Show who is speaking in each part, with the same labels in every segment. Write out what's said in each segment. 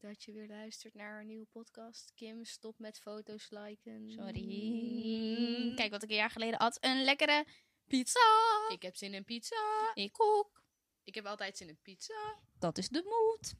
Speaker 1: dat je weer luistert naar een nieuwe podcast. Kim, stop met foto's liken. Mm.
Speaker 2: Sorry. Kijk wat ik een jaar geleden had. Een lekkere pizza.
Speaker 1: Ik heb zin in pizza.
Speaker 2: Ik ook.
Speaker 1: Ik heb altijd zin in pizza.
Speaker 2: Dat is de moed.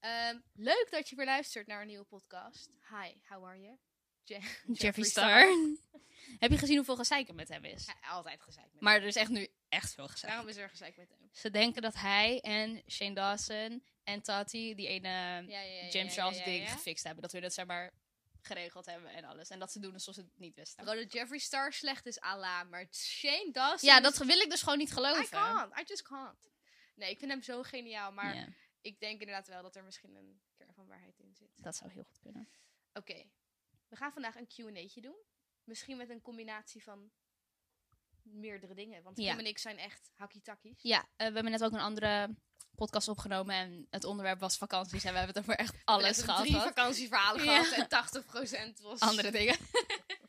Speaker 1: Ehm, leuk dat je weer luistert naar een nieuwe podcast. Hi, how are you? Je-
Speaker 2: Jeffree Star. Heb je gezien hoeveel gezeik er met hem is?
Speaker 1: Ja, altijd gezeik met
Speaker 2: Maar er is echt nu echt veel
Speaker 1: hem.
Speaker 2: gezeik.
Speaker 1: Daarom is er gezeik met hem.
Speaker 2: Ze denken dat hij en Shane Dawson en Tati die ene
Speaker 1: Ja, ja, ja,
Speaker 2: Jim
Speaker 1: ja,
Speaker 2: Charles
Speaker 1: ja, ja,
Speaker 2: ding
Speaker 1: ja.
Speaker 2: gefixt hebben. Dat we dat zeg maar geregeld hebben en alles. En dat ze doen alsof ze het niet wisten.
Speaker 1: Terwijl de Jeffree Star slecht is, ala. Maar Shane Dawson...
Speaker 2: Ja,
Speaker 1: is-
Speaker 2: dat wil ik dus gewoon niet geloven.
Speaker 1: I can't. I just can't. Nee, ik vind hem zo geniaal. Maar
Speaker 2: Ja,
Speaker 1: ik denk inderdaad wel dat er misschien een kern van waarheid in zit.
Speaker 2: dat zou heel goed kunnen.
Speaker 1: Oké, we gaan vandaag een Q&A'tje doen. Misschien met een combinatie van meerdere dingen. Want
Speaker 2: Ja.
Speaker 1: Kim en ik zijn echt hakkie-takkies.
Speaker 2: Ja, eh, we hebben net ook een andere podcast opgenomen en het onderwerp was vakanties. En we hebben het over echt alles
Speaker 1: We hebben
Speaker 2: gehad.
Speaker 1: Drie
Speaker 2: wat.
Speaker 1: vakantieverhalen
Speaker 2: Ja.
Speaker 1: gehad en 80% was...
Speaker 2: andere dingen.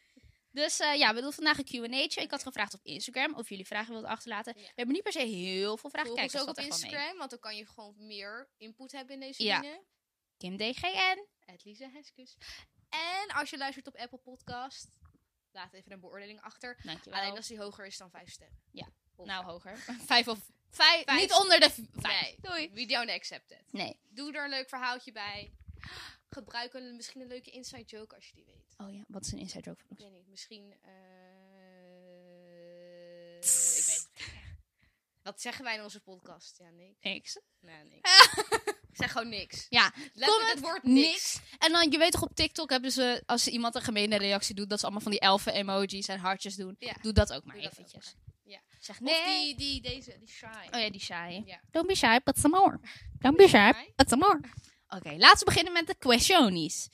Speaker 2: dus eh, ja, we doen vandaag een Q&A'tje. Ik had gevraagd op Instagram of jullie vragen wilden achterlaten.
Speaker 1: Ja.
Speaker 2: We hebben niet per se heel veel vragen.
Speaker 1: Volg
Speaker 2: Kijk,
Speaker 1: ons
Speaker 2: dat
Speaker 1: ook op
Speaker 2: valt echt wel mee.
Speaker 1: Instagram, want dan kan je gewoon meer input hebben in deze
Speaker 2: Ja.
Speaker 1: dingen.
Speaker 2: Kim DGN.
Speaker 1: Het Lisa Heskes. En als je luistert op Apple Podcast, laat even een beoordeling achter.
Speaker 2: Dankjewel.
Speaker 1: Alleen als die hoger is dan 5 sterren.
Speaker 2: Ja.
Speaker 1: Of-
Speaker 2: Nou, hoger. Vijf of... Vijf.
Speaker 1: Vijf.
Speaker 2: Niet onder de v- vijf.
Speaker 1: Nee, doei. We don't accept it.
Speaker 2: Nee.
Speaker 1: Doe er een leuk verhaaltje bij. Gebruik een, misschien een leuke inside joke als je die weet.
Speaker 2: Oh ja, wat is een inside joke van
Speaker 1: Ik
Speaker 2: ons?
Speaker 1: weet niet, misschien... eh, ik
Speaker 2: Tss.
Speaker 1: weet het niet. Wat zeggen wij in onze podcast? Ja, niks.
Speaker 2: Niks.
Speaker 1: Nee, niks. ik zeg gewoon niks.
Speaker 2: Ja,
Speaker 1: Letterlijk
Speaker 2: comment,
Speaker 1: het woord
Speaker 2: niks.
Speaker 1: niks.
Speaker 2: En dan, je weet toch op TikTok hebben ze, als iemand een gemene reactie doet, dat ze allemaal van die elfen emojis en hartjes doen.
Speaker 1: Ja.
Speaker 2: Doe dat ook maar
Speaker 1: Doe dat
Speaker 2: eventjes.
Speaker 1: ook maar. Ja.
Speaker 2: Zeg
Speaker 1: Nee.
Speaker 2: nee.
Speaker 1: Of die, die, deze, die shy.
Speaker 2: Oh ja, die shy.
Speaker 1: Ja.
Speaker 2: Don't be shy, but some more. Don't be shy,
Speaker 1: shy.
Speaker 2: but some more. Oké, laten we beginnen met de questionies.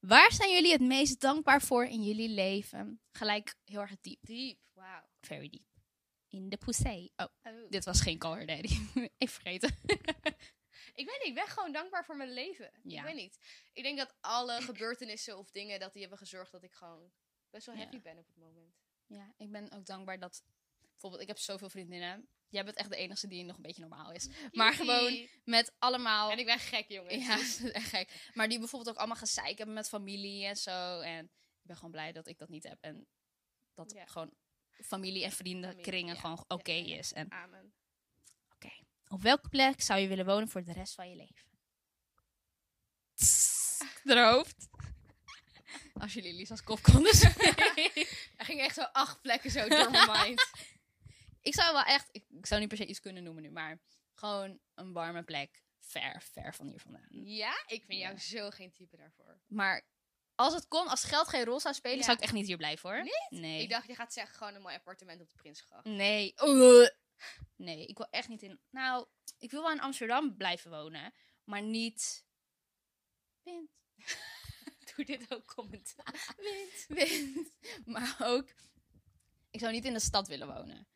Speaker 2: Waar zijn jullie het meest dankbaar voor in jullie leven? Gelijk heel erg diep.
Speaker 1: Diep, wauw.
Speaker 2: Very deep. In de poesé. Oh,
Speaker 1: Oh.
Speaker 2: dit was geen caller daddy. Even vergeten.
Speaker 1: Ik weet niet, ik ben gewoon dankbaar voor mijn leven.
Speaker 2: Ja.
Speaker 1: Ik weet niet. Ik denk dat alle gebeurtenissen of dingen, dat die hebben gezorgd dat ik gewoon best wel
Speaker 2: Ja.
Speaker 1: happy ben op het moment.
Speaker 2: Ja, ik ben ook dankbaar dat... Bijvoorbeeld, ik heb zoveel vriendinnen. Jij bent echt de enige die nog een beetje normaal is. Maar gewoon
Speaker 1: Joepie.
Speaker 2: met allemaal...
Speaker 1: En ik ben gek, Dus jongen.
Speaker 2: Ja, dat is echt gek. Maar die bijvoorbeeld ook allemaal gezeik hebben met familie en zo. En ik ben gewoon blij dat ik dat niet heb. En dat
Speaker 1: Ja.
Speaker 2: gewoon familie en vriendenkringen
Speaker 1: Familie, ja.
Speaker 2: gewoon oké
Speaker 1: Ja, ja, ja.
Speaker 2: is. En
Speaker 1: Amen.
Speaker 2: op welke plek zou je willen wonen voor de rest van je leven? Droofd. Als jullie Lisa's kop konden zien.
Speaker 1: Er ging echt zo acht plekken zo door mijn mind.
Speaker 2: Ik zou wel echt, ik, ik zou niet per se iets kunnen noemen nu, maar gewoon een warme plek. Ver, ver van hier vandaan.
Speaker 1: Ja? Ik vind jou
Speaker 2: Ja.
Speaker 1: zo geen type daarvoor.
Speaker 2: Maar als het kon, als geld geen rol zou spelen,
Speaker 1: Ja.
Speaker 2: zou ik echt niet hier blijven hoor. Nee?
Speaker 1: Ik dacht, je gaat zeggen gewoon een mooi appartement op de Prinsengracht.
Speaker 2: Nee. Ugh. Nee, ik wil echt niet in. Nou, ik wil wel in Amsterdam blijven wonen, maar niet. Wind.
Speaker 1: Doe dit ook commentaar.
Speaker 2: Wind. Maar ook. Ik zou niet in de stad willen wonen.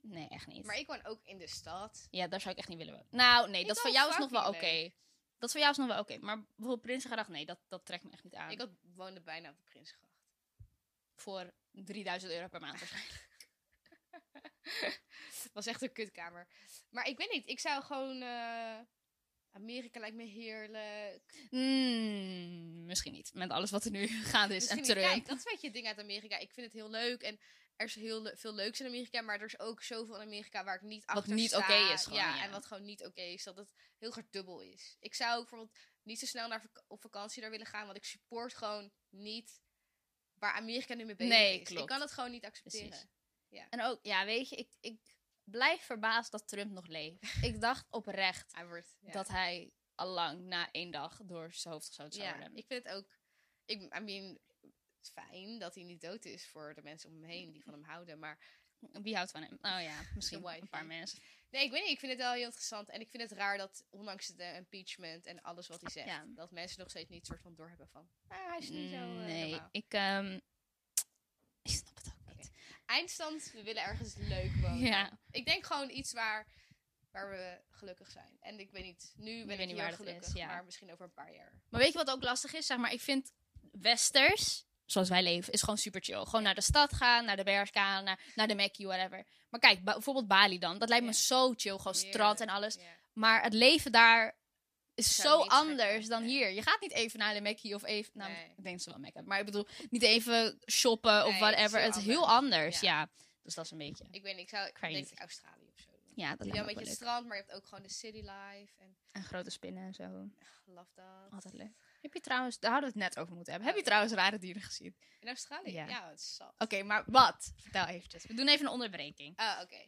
Speaker 2: Nee, echt niet.
Speaker 1: Maar ik woon ook in de stad.
Speaker 2: Ja, daar zou ik echt niet willen wonen. Nou, nee,
Speaker 1: Ik
Speaker 2: dat van
Speaker 1: woon
Speaker 2: jou is nog wel oké.
Speaker 1: fucking
Speaker 2: Dat van jou is nog wel oké. Maar bijvoorbeeld Prinsengracht, nee, dat, dat trekt me echt niet aan.
Speaker 1: Ik had, woonde bijna op de Prinsengracht.
Speaker 2: voor 3000 euro per maand. waarschijnlijk.
Speaker 1: Het was echt een kutkamer. Maar ik weet niet, ik zou gewoon... eh, Amerika lijkt me heerlijk.
Speaker 2: Mm, misschien niet. Met alles wat er nu gaande is.
Speaker 1: Misschien
Speaker 2: en
Speaker 1: niet.
Speaker 2: Trump.
Speaker 1: Kijk, dat is een beetje het ding uit Amerika. Ik vind het heel leuk en er is heel le- veel leuks in Amerika, maar er is ook zoveel in Amerika waar ik niet achter
Speaker 2: niet
Speaker 1: sta.
Speaker 2: oké is gewoon, ja.
Speaker 1: en wat gewoon niet oké is, dat het heel gedubbel is. Ik zou ook bijvoorbeeld niet zo snel naar vak- op vakantie daar willen gaan, want ik support gewoon niet waar Amerika nu mee bezig
Speaker 2: Nee,
Speaker 1: is.
Speaker 2: klopt.
Speaker 1: Ik kan het gewoon niet accepteren.
Speaker 2: Precies. En ook, ja, weet je, ik, ik blijf verbaasd dat Trump nog leeft. ik dacht oprecht
Speaker 1: Hij wordt... ja.
Speaker 2: dat hij allang na één dag door zijn hoofd gezout zou
Speaker 1: Ja,
Speaker 2: worden.
Speaker 1: ik vind het ook. Ik, I mean, het is fijn dat hij niet dood is voor de mensen om hem heen die van hem houden. Maar
Speaker 2: Wie houdt van hem? Oh ja, misschien
Speaker 1: wifey.
Speaker 2: een paar mensen.
Speaker 1: nee, ik weet niet. Ik vind het wel heel interessant. En ik vind het raar dat, ondanks de impeachment en alles wat hij zegt,
Speaker 2: Ja.
Speaker 1: dat mensen nog steeds niet soort van doorhebben van. Ah, hij is niet zo. eh,
Speaker 2: nee,
Speaker 1: normaal."
Speaker 2: ik, ehm, ik snap het ook niet.
Speaker 1: Eindstand, we willen ergens leuk wonen.
Speaker 2: Ja.
Speaker 1: Ik denk gewoon iets waar, waar we gelukkig zijn. En ik weet niet, nu ben ik
Speaker 2: weet niet
Speaker 1: heel
Speaker 2: waar dat
Speaker 1: gelukkig,
Speaker 2: is, ja.
Speaker 1: maar misschien over een paar jaar.
Speaker 2: Maar weet je wat ook lastig is? Zeg maar, ik vind westers, zoals wij leven, is gewoon super chill. Gewoon naar de stad gaan, naar de berg gaan, naar, naar de Mackie, whatever. Maar kijk, ba- bijvoorbeeld Bali dan. Dat lijkt me
Speaker 1: Ja.
Speaker 2: zo chill. Gewoon strand en
Speaker 1: Heerlijk,
Speaker 2: alles.
Speaker 1: ja.
Speaker 2: Maar het leven daar is
Speaker 1: Zou
Speaker 2: zo
Speaker 1: niet gek
Speaker 2: anders
Speaker 1: zijn,
Speaker 2: dan
Speaker 1: nee.
Speaker 2: hier. Je gaat niet even naar de Mackie of even... Nou,
Speaker 1: Nee.
Speaker 2: ik denk dat ze wel Mac hebben. Maar ik bedoel, niet even shoppen
Speaker 1: Nee,
Speaker 2: of
Speaker 1: het is
Speaker 2: whatever.
Speaker 1: heel
Speaker 2: Het is heel
Speaker 1: anders,
Speaker 2: anders,
Speaker 1: ja.
Speaker 2: ja. Dus dat is een beetje...
Speaker 1: Ik weet niet, ik zou ik
Speaker 2: Crazy.
Speaker 1: denk ik Australië of zo.
Speaker 2: Ja, dat
Speaker 1: Je
Speaker 2: lijkt
Speaker 1: hebt een
Speaker 2: me ook
Speaker 1: beetje
Speaker 2: wel
Speaker 1: het
Speaker 2: leuk.
Speaker 1: strand, maar je hebt ook gewoon de city life. En
Speaker 2: En grote spinnen en zo.
Speaker 1: ah, love dat.
Speaker 2: Altijd leuk. Heb je trouwens... Daar hadden we het net over moeten hebben. Heb je trouwens rare dieren gezien?
Speaker 1: In Australië?
Speaker 2: Ja.
Speaker 1: Ja, het is zat.
Speaker 2: Oké, maar wat? Vertel eventjes. We doen even een onderbreking.
Speaker 1: Ah, oké.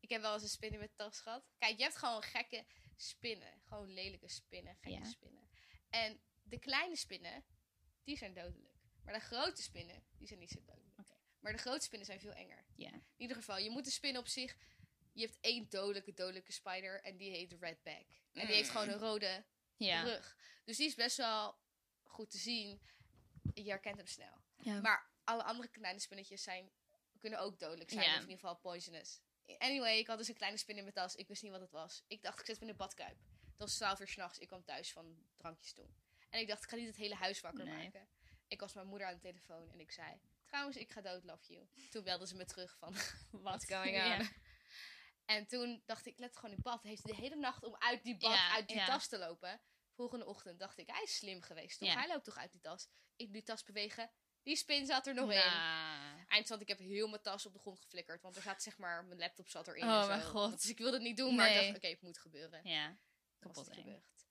Speaker 1: Ik heb wel eens een spin in mijn tas gehad. Kijk, je hebt gewoon gekke spinnen. Gewoon lelijke spinnen, gekke
Speaker 2: Ja.
Speaker 1: spinnen. En de kleine spinnen, die zijn dodelijk. Maar de grote spinnen, die zijn niet zo dodelijk.
Speaker 2: Oké.
Speaker 1: Maar de grote spinnen zijn veel enger.
Speaker 2: Ja.
Speaker 1: In ieder geval, je moet de spin op zich... Je hebt één dodelijke, dodelijke spider en die heet Redback. En die heeft
Speaker 2: Mm.
Speaker 1: gewoon een rode
Speaker 2: Ja.
Speaker 1: rug. Dus die is best wel goed te zien. Je herkent hem snel.
Speaker 2: Ja.
Speaker 1: Maar alle andere kleine spinnetjes zijn, kunnen ook dodelijk zijn.
Speaker 2: Ja.
Speaker 1: Of in ieder geval poisonous. Anyway, ik had dus een kleine spin in mijn tas. Ik wist niet wat het was. Ik dacht, ik zet hem in de badkuip. Het was 12 uur s'nachts. Ik kwam thuis van drankjes doen. En ik dacht, ik ga niet het hele huis wakker
Speaker 2: Nee.
Speaker 1: maken. Ik was mijn moeder aan de telefoon en ik zei... Trouwens, ik ga dood, love you. Toen belden ze me terug van... What's going on?
Speaker 2: Ja.
Speaker 1: En toen dacht ik, let gewoon in bad. Heeft hij de hele nacht om uit die bad,
Speaker 2: Ja,
Speaker 1: uit die
Speaker 2: ja.
Speaker 1: tas te lopen. Volgende ochtend dacht ik, hij is slim geweest. Toch?
Speaker 2: Ja.
Speaker 1: Hij loopt toch uit die tas. Ik die tas bewegen. Die spin zat er nog in.
Speaker 2: Nou.
Speaker 1: Eindstand, ik heb heel mijn tas op de grond geflikkerd. Want er zat zeg maar, mijn laptop zat erin.
Speaker 2: Oh,
Speaker 1: en zo.
Speaker 2: mijn god.
Speaker 1: Want- dus ik wilde het niet doen, maar ik
Speaker 2: Nee.
Speaker 1: dacht, oké, het moet gebeuren.
Speaker 2: Ja.
Speaker 1: Toen was
Speaker 2: kapot
Speaker 1: het
Speaker 2: eng.
Speaker 1: gebeurd.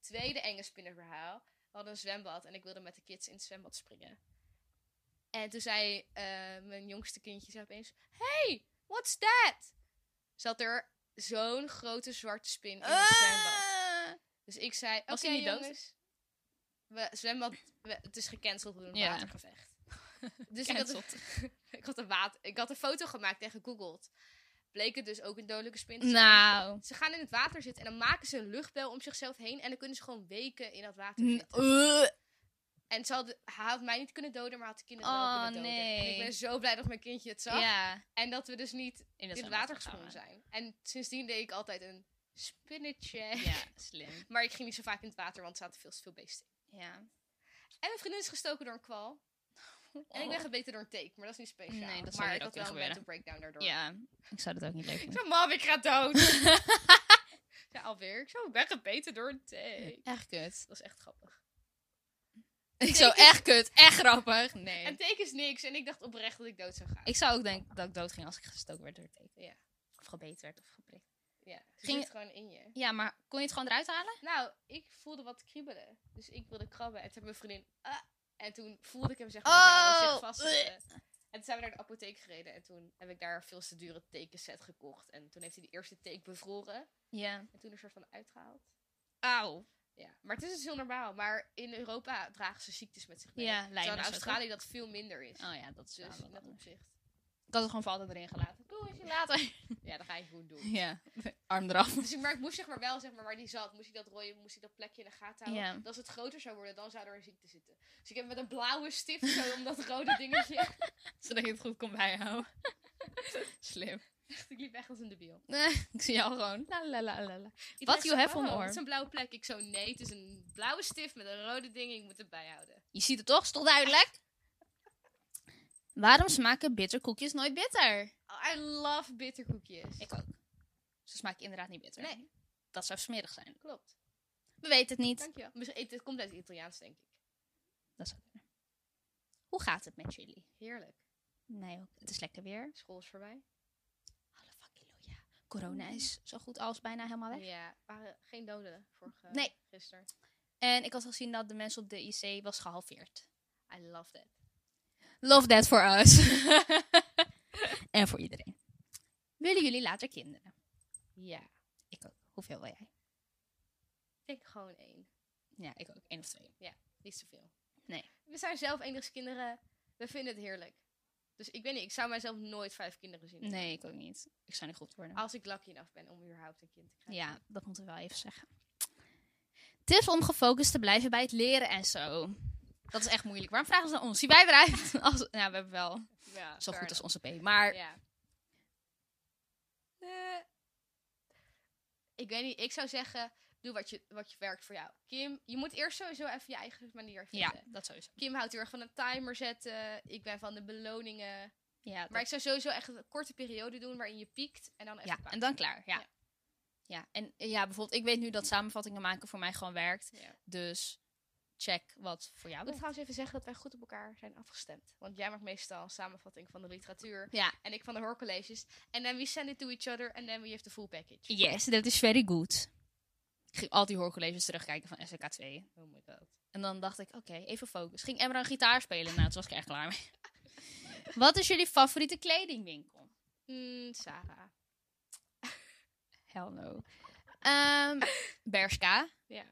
Speaker 1: Tweede enge spinnenverhaal. We hadden een zwembad en ik wilde met de kids in het zwembad springen. En toen zei eh, mijn jongste kindje zei opeens... Hey, what's that? Zat er zo'n grote zwarte spin in het zwembad. Dus ik zei, oké
Speaker 2: Ah! Was hij niet dood?
Speaker 1: jongens. We, zwembad, we- het is gecanceld, we doen een
Speaker 2: Ja.
Speaker 1: watergevecht. Dus ik had, een, ik, had een water, ik had een foto gemaakt en gegoogeld. Bleek het dus ook een dodelijke spin te zijn.
Speaker 2: Nou.
Speaker 1: Ze gaan in het water zitten en dan maken ze een luchtbel om zichzelf heen. En dan kunnen ze gewoon weken in dat water
Speaker 2: N-
Speaker 1: zitten.
Speaker 2: eh.
Speaker 1: En ze hadden- hij had mij niet kunnen doden, maar had de kinderen
Speaker 2: Oh,
Speaker 1: wel kunnen doden. En
Speaker 2: nee.
Speaker 1: ik ben zo blij dat mijn kindje het zag.
Speaker 2: Ja.
Speaker 1: En dat we dus niet in
Speaker 2: In
Speaker 1: het water gesprongen zijn. En sindsdien deed ik altijd een spinnetje.
Speaker 2: Ja, slim.
Speaker 1: Maar ik ging niet zo vaak in het water, want er zaten veel te veel beesten in.
Speaker 2: Ja.
Speaker 1: En mijn vriendin is gestoken door een kwal. En ik ben gebeten door een teek, maar dat is niet speciaal.
Speaker 2: Oh. Nee, dat zou
Speaker 1: maar
Speaker 2: hier
Speaker 1: ik had
Speaker 2: ook weer
Speaker 1: wel een
Speaker 2: gebeuren.
Speaker 1: mental breakdown daardoor.
Speaker 2: Ja, ik zou dat ook niet leuk
Speaker 1: Ik
Speaker 2: vinden.
Speaker 1: zei, mam, ik ga dood. Ik zei, alweer, ik zou ik ben gebeten door een teek.
Speaker 2: echt kut.
Speaker 1: Dat is echt grappig.
Speaker 2: Ik zou echt kut, echt grappig. Nee.
Speaker 1: En tekens niks. En ik dacht oprecht dat ik dood zou gaan.
Speaker 2: Ik zou ook denken dat ik dood ging als ik gestoken werd door het teken.
Speaker 1: Ja.
Speaker 2: Of gebeten werd of geprikt.
Speaker 1: ja, ze
Speaker 2: Ging-
Speaker 1: zit gewoon in je.
Speaker 2: Ja, maar kon je het gewoon eruit halen?
Speaker 1: Nou, ik voelde wat kriebelen. Dus ik wilde krabben. En toen mijn vriendin... "Ah." en toen voelde ik hem zeg maar
Speaker 2: Oh,
Speaker 1: zo zich
Speaker 2: bleh.
Speaker 1: vastzetten. En toen zijn we naar de apotheek gereden. En toen heb ik daar veel te dure tekenset gekocht. En toen heeft hij de eerste teek bevroren.
Speaker 2: Ja.
Speaker 1: En toen er soort van uitgehaald.
Speaker 2: Auw.
Speaker 1: Ja, maar het is dus heel normaal. Maar in Europa dragen ze ziektes met zich mee.
Speaker 2: Ja,
Speaker 1: Terwijl
Speaker 2: lijnen
Speaker 1: in
Speaker 2: zo,
Speaker 1: Australië dat veel minder is.
Speaker 2: Oh ja, dat is wel
Speaker 1: Dus
Speaker 2: wat
Speaker 1: in dat
Speaker 2: anders.
Speaker 1: opzicht.
Speaker 2: Ik had het gewoon voor altijd erin gelaten.
Speaker 1: Doei,
Speaker 2: Later.
Speaker 1: Ja, dan ga je gewoon doen.
Speaker 2: Ja. Arm eraf.
Speaker 1: Dus ik, maar ik moest zeg maar wel zeg maar, waar die zat. Moest ik dat rooien, moest ik dat plekje in de gaten houden.
Speaker 2: Ja.
Speaker 1: Dat als het groter zou worden, dan zou er een ziekte zitten. Dus ik heb met een blauwe stift zo om dat rode dingetje.
Speaker 2: Zodat je het goed kon bijhouden. Slim.
Speaker 1: Echt, ik liep echt als een debiel.
Speaker 2: ik zie jou gewoon. La la la la la.
Speaker 1: Iedereen
Speaker 2: What you
Speaker 1: zei,
Speaker 2: have on
Speaker 1: "Wow,
Speaker 2: your
Speaker 1: Het is
Speaker 2: arm."
Speaker 1: een blauwe plek. Ik zo, nee, het is een blauwe stift met een rode ding. Ik moet het bijhouden.
Speaker 2: Je ziet het toch? Is toch duidelijk? Waarom smaken bitterkoekjes nooit bitter?
Speaker 1: Oh, I love bitterkoekjes.
Speaker 2: Ik ook. Ze smaken inderdaad niet bitter.
Speaker 1: Nee,
Speaker 2: Dat zou smerig zijn.
Speaker 1: klopt.
Speaker 2: We weten het niet.
Speaker 1: Dankjewel. Misschien- Het, het komt uit het Italiaans, denk ik.
Speaker 2: Dat zou kunnen. Hoe gaat het met jullie?
Speaker 1: Heerlijk.
Speaker 2: Nee, ook. het is lekker weer.
Speaker 1: School is voorbij.
Speaker 2: Alle fucking loja. Corona is zo goed als bijna helemaal weg.
Speaker 1: Ja, waren geen doden vorige
Speaker 2: Nee.
Speaker 1: gisteren.
Speaker 2: En ik had gezien dat de mensen op de IC was gehalveerd.
Speaker 1: I love that.
Speaker 2: Love that for us. en voor iedereen. Willen jullie later kinderen?
Speaker 1: Ja.
Speaker 2: Ik ook. Hoeveel wil jij?
Speaker 1: Ik denk gewoon één.
Speaker 2: Ja, ik ook. Eén of twee.
Speaker 1: Niet zoveel.
Speaker 2: Nee.
Speaker 1: We zijn zelf enigskinderen. We vinden het heerlijk. Dus ik weet niet, ik zou mijzelf nooit vijf kinderen zien.
Speaker 2: Nee, ik ook niet. Oh. Ik zou niet goed worden.
Speaker 1: Als ik lucky enough ben om überhaupt een kind te krijgen.
Speaker 2: Ja, dat moeten we wel even zeggen. Tips om gefocust te blijven bij het leren en zo. Dat is echt moeilijk. Waarom vragen ze dan ons? Zien wij eruit? Als, nou, we hebben wel
Speaker 1: Ja,
Speaker 2: zo
Speaker 1: fair
Speaker 2: goed als
Speaker 1: enough.
Speaker 2: onze P. Maar
Speaker 1: Ja. Eh, ik weet niet, ik zou zeggen, doe wat je, wat je werkt voor jou. Kim, je moet eerst sowieso even je eigen manier
Speaker 2: ja,
Speaker 1: vinden.
Speaker 2: dat sowieso.
Speaker 1: Kim houdt heel erg van een timer zetten. Ik ben van de beloningen.
Speaker 2: Ja, dat-
Speaker 1: Maar ik zou sowieso echt een korte periode doen waarin je piekt en dan even
Speaker 2: ja
Speaker 1: pauze.
Speaker 2: en dan klaar. Ja.
Speaker 1: Ja.
Speaker 2: Ja, en eh, ja, bijvoorbeeld, ik weet nu dat samenvattingen maken voor mij gewoon werkt.
Speaker 1: Ja.
Speaker 2: Dus check wat voor jou
Speaker 1: Ik moet
Speaker 2: werkt.
Speaker 1: trouwens even zeggen dat wij goed op elkaar zijn afgestemd. Want jij maakt meestal een samenvatting van de literatuur.
Speaker 2: Ja.
Speaker 1: En ik van de hoorcolleges. En then we send it to each other. And then we have the full package.
Speaker 2: Yes, dat is very good. Ik ging al die hoorcolleges terugkijken van SK2.
Speaker 1: Oh my god.
Speaker 2: En dan dacht ik, oké, even focus. Ging Emra een gitaar spelen? Nou, toen was ik echt klaar mee. wat is jullie favoriete kledingwinkel?
Speaker 1: Mm, Sarah.
Speaker 2: Hell no. Ehm, Bershka.
Speaker 1: Ja,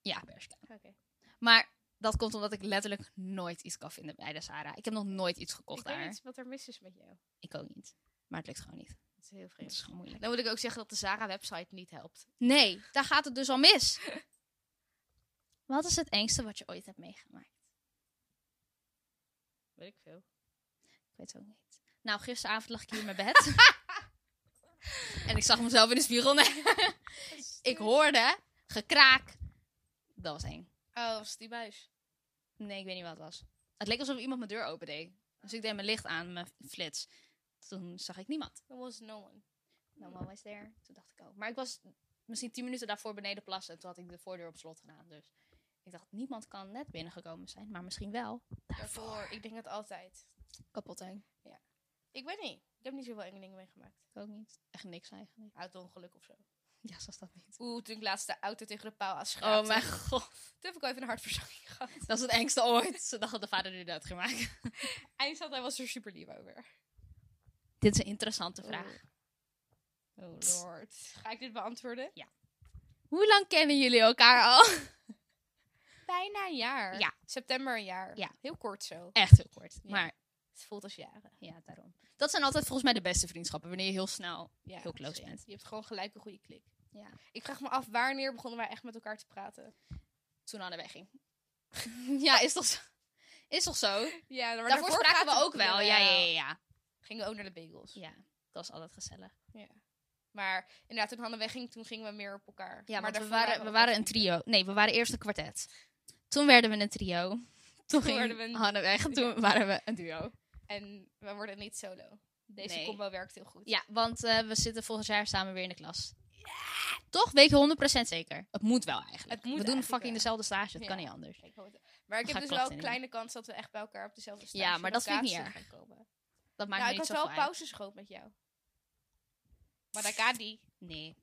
Speaker 2: Ja, Bershka.
Speaker 1: oké.
Speaker 2: Maar dat komt omdat ik letterlijk nooit iets kan vinden bij de Sarah. Ik heb nog nooit iets gekocht
Speaker 1: Ik
Speaker 2: daar.
Speaker 1: weet niet wat er mis is met jou.
Speaker 2: Ik ook niet. Maar het lukt gewoon niet.
Speaker 1: Dat is heel
Speaker 2: Het
Speaker 1: vreemd.
Speaker 2: is gewoon moeilijk.
Speaker 1: Dan moet ik ook zeggen dat de Zara-website niet helpt.
Speaker 2: Nee, daar gaat het dus al mis. wat is het engste wat je ooit hebt meegemaakt?
Speaker 1: Weet ik veel.
Speaker 2: Ik weet het ook niet. Nou, gisteravond lag ik hier in mijn bed. en ik zag mezelf in de spiegel. Nee. Ik hoorde gekraak. Dat was eng.
Speaker 1: Oh, was het die buis?
Speaker 2: Nee, ik weet niet wat het was. Het leek alsof iemand mijn deur opendeed. Dus ik deed mijn licht aan, mijn flits. Toen zag ik niemand.
Speaker 1: There was no one.
Speaker 2: No one was there. Toen dacht ik ook. Maar ik was misschien tien minuten daarvoor beneden plassen. En toen had ik de voordeur op slot gedaan. Dus ik dacht, niemand kan net binnengekomen zijn. Maar misschien wel.
Speaker 1: Daarvoor. Ik denk dat altijd.
Speaker 2: Kapot eng.
Speaker 1: Ik weet niet. Ik heb niet zoveel enge dingen meegemaakt.
Speaker 2: Ik ook niet. Echt niks eigenlijk.
Speaker 1: Auto-ongeluk of zo.
Speaker 2: Ja, zoals dat niet.
Speaker 1: Oeh, toen ik laatst de auto tegen de paal aanschraapte.
Speaker 2: Oh mijn god.
Speaker 1: Toen heb ik al even een hartverzakking gehad.
Speaker 2: Dat is het engste ooit. Ze dachten dat de vader nu dood ging maken.
Speaker 1: Hij zat, hij was er super lief over.
Speaker 2: Dit is een interessante vraag.
Speaker 1: Oh lord. Ga ik dit beantwoorden?
Speaker 2: Hoe lang kennen jullie elkaar al?
Speaker 1: Bijna een jaar.
Speaker 2: Ja.
Speaker 1: September een jaar.
Speaker 2: Ja.
Speaker 1: Heel kort zo.
Speaker 2: Echt heel kort.
Speaker 1: Ja.
Speaker 2: Maar
Speaker 1: Het voelt als jaren.
Speaker 2: ja, daarom. Dat zijn altijd volgens mij de beste vriendschappen. Wanneer je heel snel...
Speaker 1: Ja,
Speaker 2: Heel close
Speaker 1: zeker.
Speaker 2: bent.
Speaker 1: Je hebt gewoon gelijk een goede klik.
Speaker 2: Ja.
Speaker 1: Ik vraag me af, wanneer begonnen wij echt met elkaar te praten?
Speaker 2: Toen aan de weg ging. ja, is toch zo? Is toch zo?
Speaker 1: Ja, maar
Speaker 2: Daarvoor spraken we ook wel. Ja, ja, ja, ja.
Speaker 1: Gingen we ook naar de bagels.
Speaker 2: Ja, dat was altijd gezellig.
Speaker 1: Maar inderdaad, toen Hanne wegging, toen gingen we meer op elkaar.
Speaker 2: Ja,
Speaker 1: maar
Speaker 2: maar we
Speaker 1: daarvoor
Speaker 2: waren, we
Speaker 1: elkaar
Speaker 2: waren een
Speaker 1: vrienden.
Speaker 2: trio. Nee, we waren eerst een kwartet. Toen werden we een trio. Toen, ging
Speaker 1: werden we een-
Speaker 2: Hanne weg. Toen waren we een duo.
Speaker 1: En we worden niet solo. Deze
Speaker 2: Nee.
Speaker 1: combo werkt heel goed.
Speaker 2: Ja, want eh, we zitten volgend jaar samen weer in de klas. Toch? Weet je 100% zeker? Het moet wel eigenlijk.
Speaker 1: Het moet
Speaker 2: we doen
Speaker 1: eigenlijk
Speaker 2: fucking
Speaker 1: wel.
Speaker 2: dezelfde stage. Het
Speaker 1: Ja.
Speaker 2: kan niet anders.
Speaker 1: Ik hoop het. Maar ik heb
Speaker 2: Dan ga
Speaker 1: dus wel
Speaker 2: ik klachten
Speaker 1: een
Speaker 2: in.
Speaker 1: kleine kans dat we echt bij elkaar op dezelfde stage
Speaker 2: Ja, maar dat vind ik niet
Speaker 1: locatie
Speaker 2: erg.
Speaker 1: gaan komen. Nou,
Speaker 2: Dat maakt me
Speaker 1: ik
Speaker 2: niet
Speaker 1: had
Speaker 2: zoveel
Speaker 1: wel
Speaker 2: uit.
Speaker 1: pauzes gehoopt met jou. Maar daar kan die.
Speaker 2: Nee.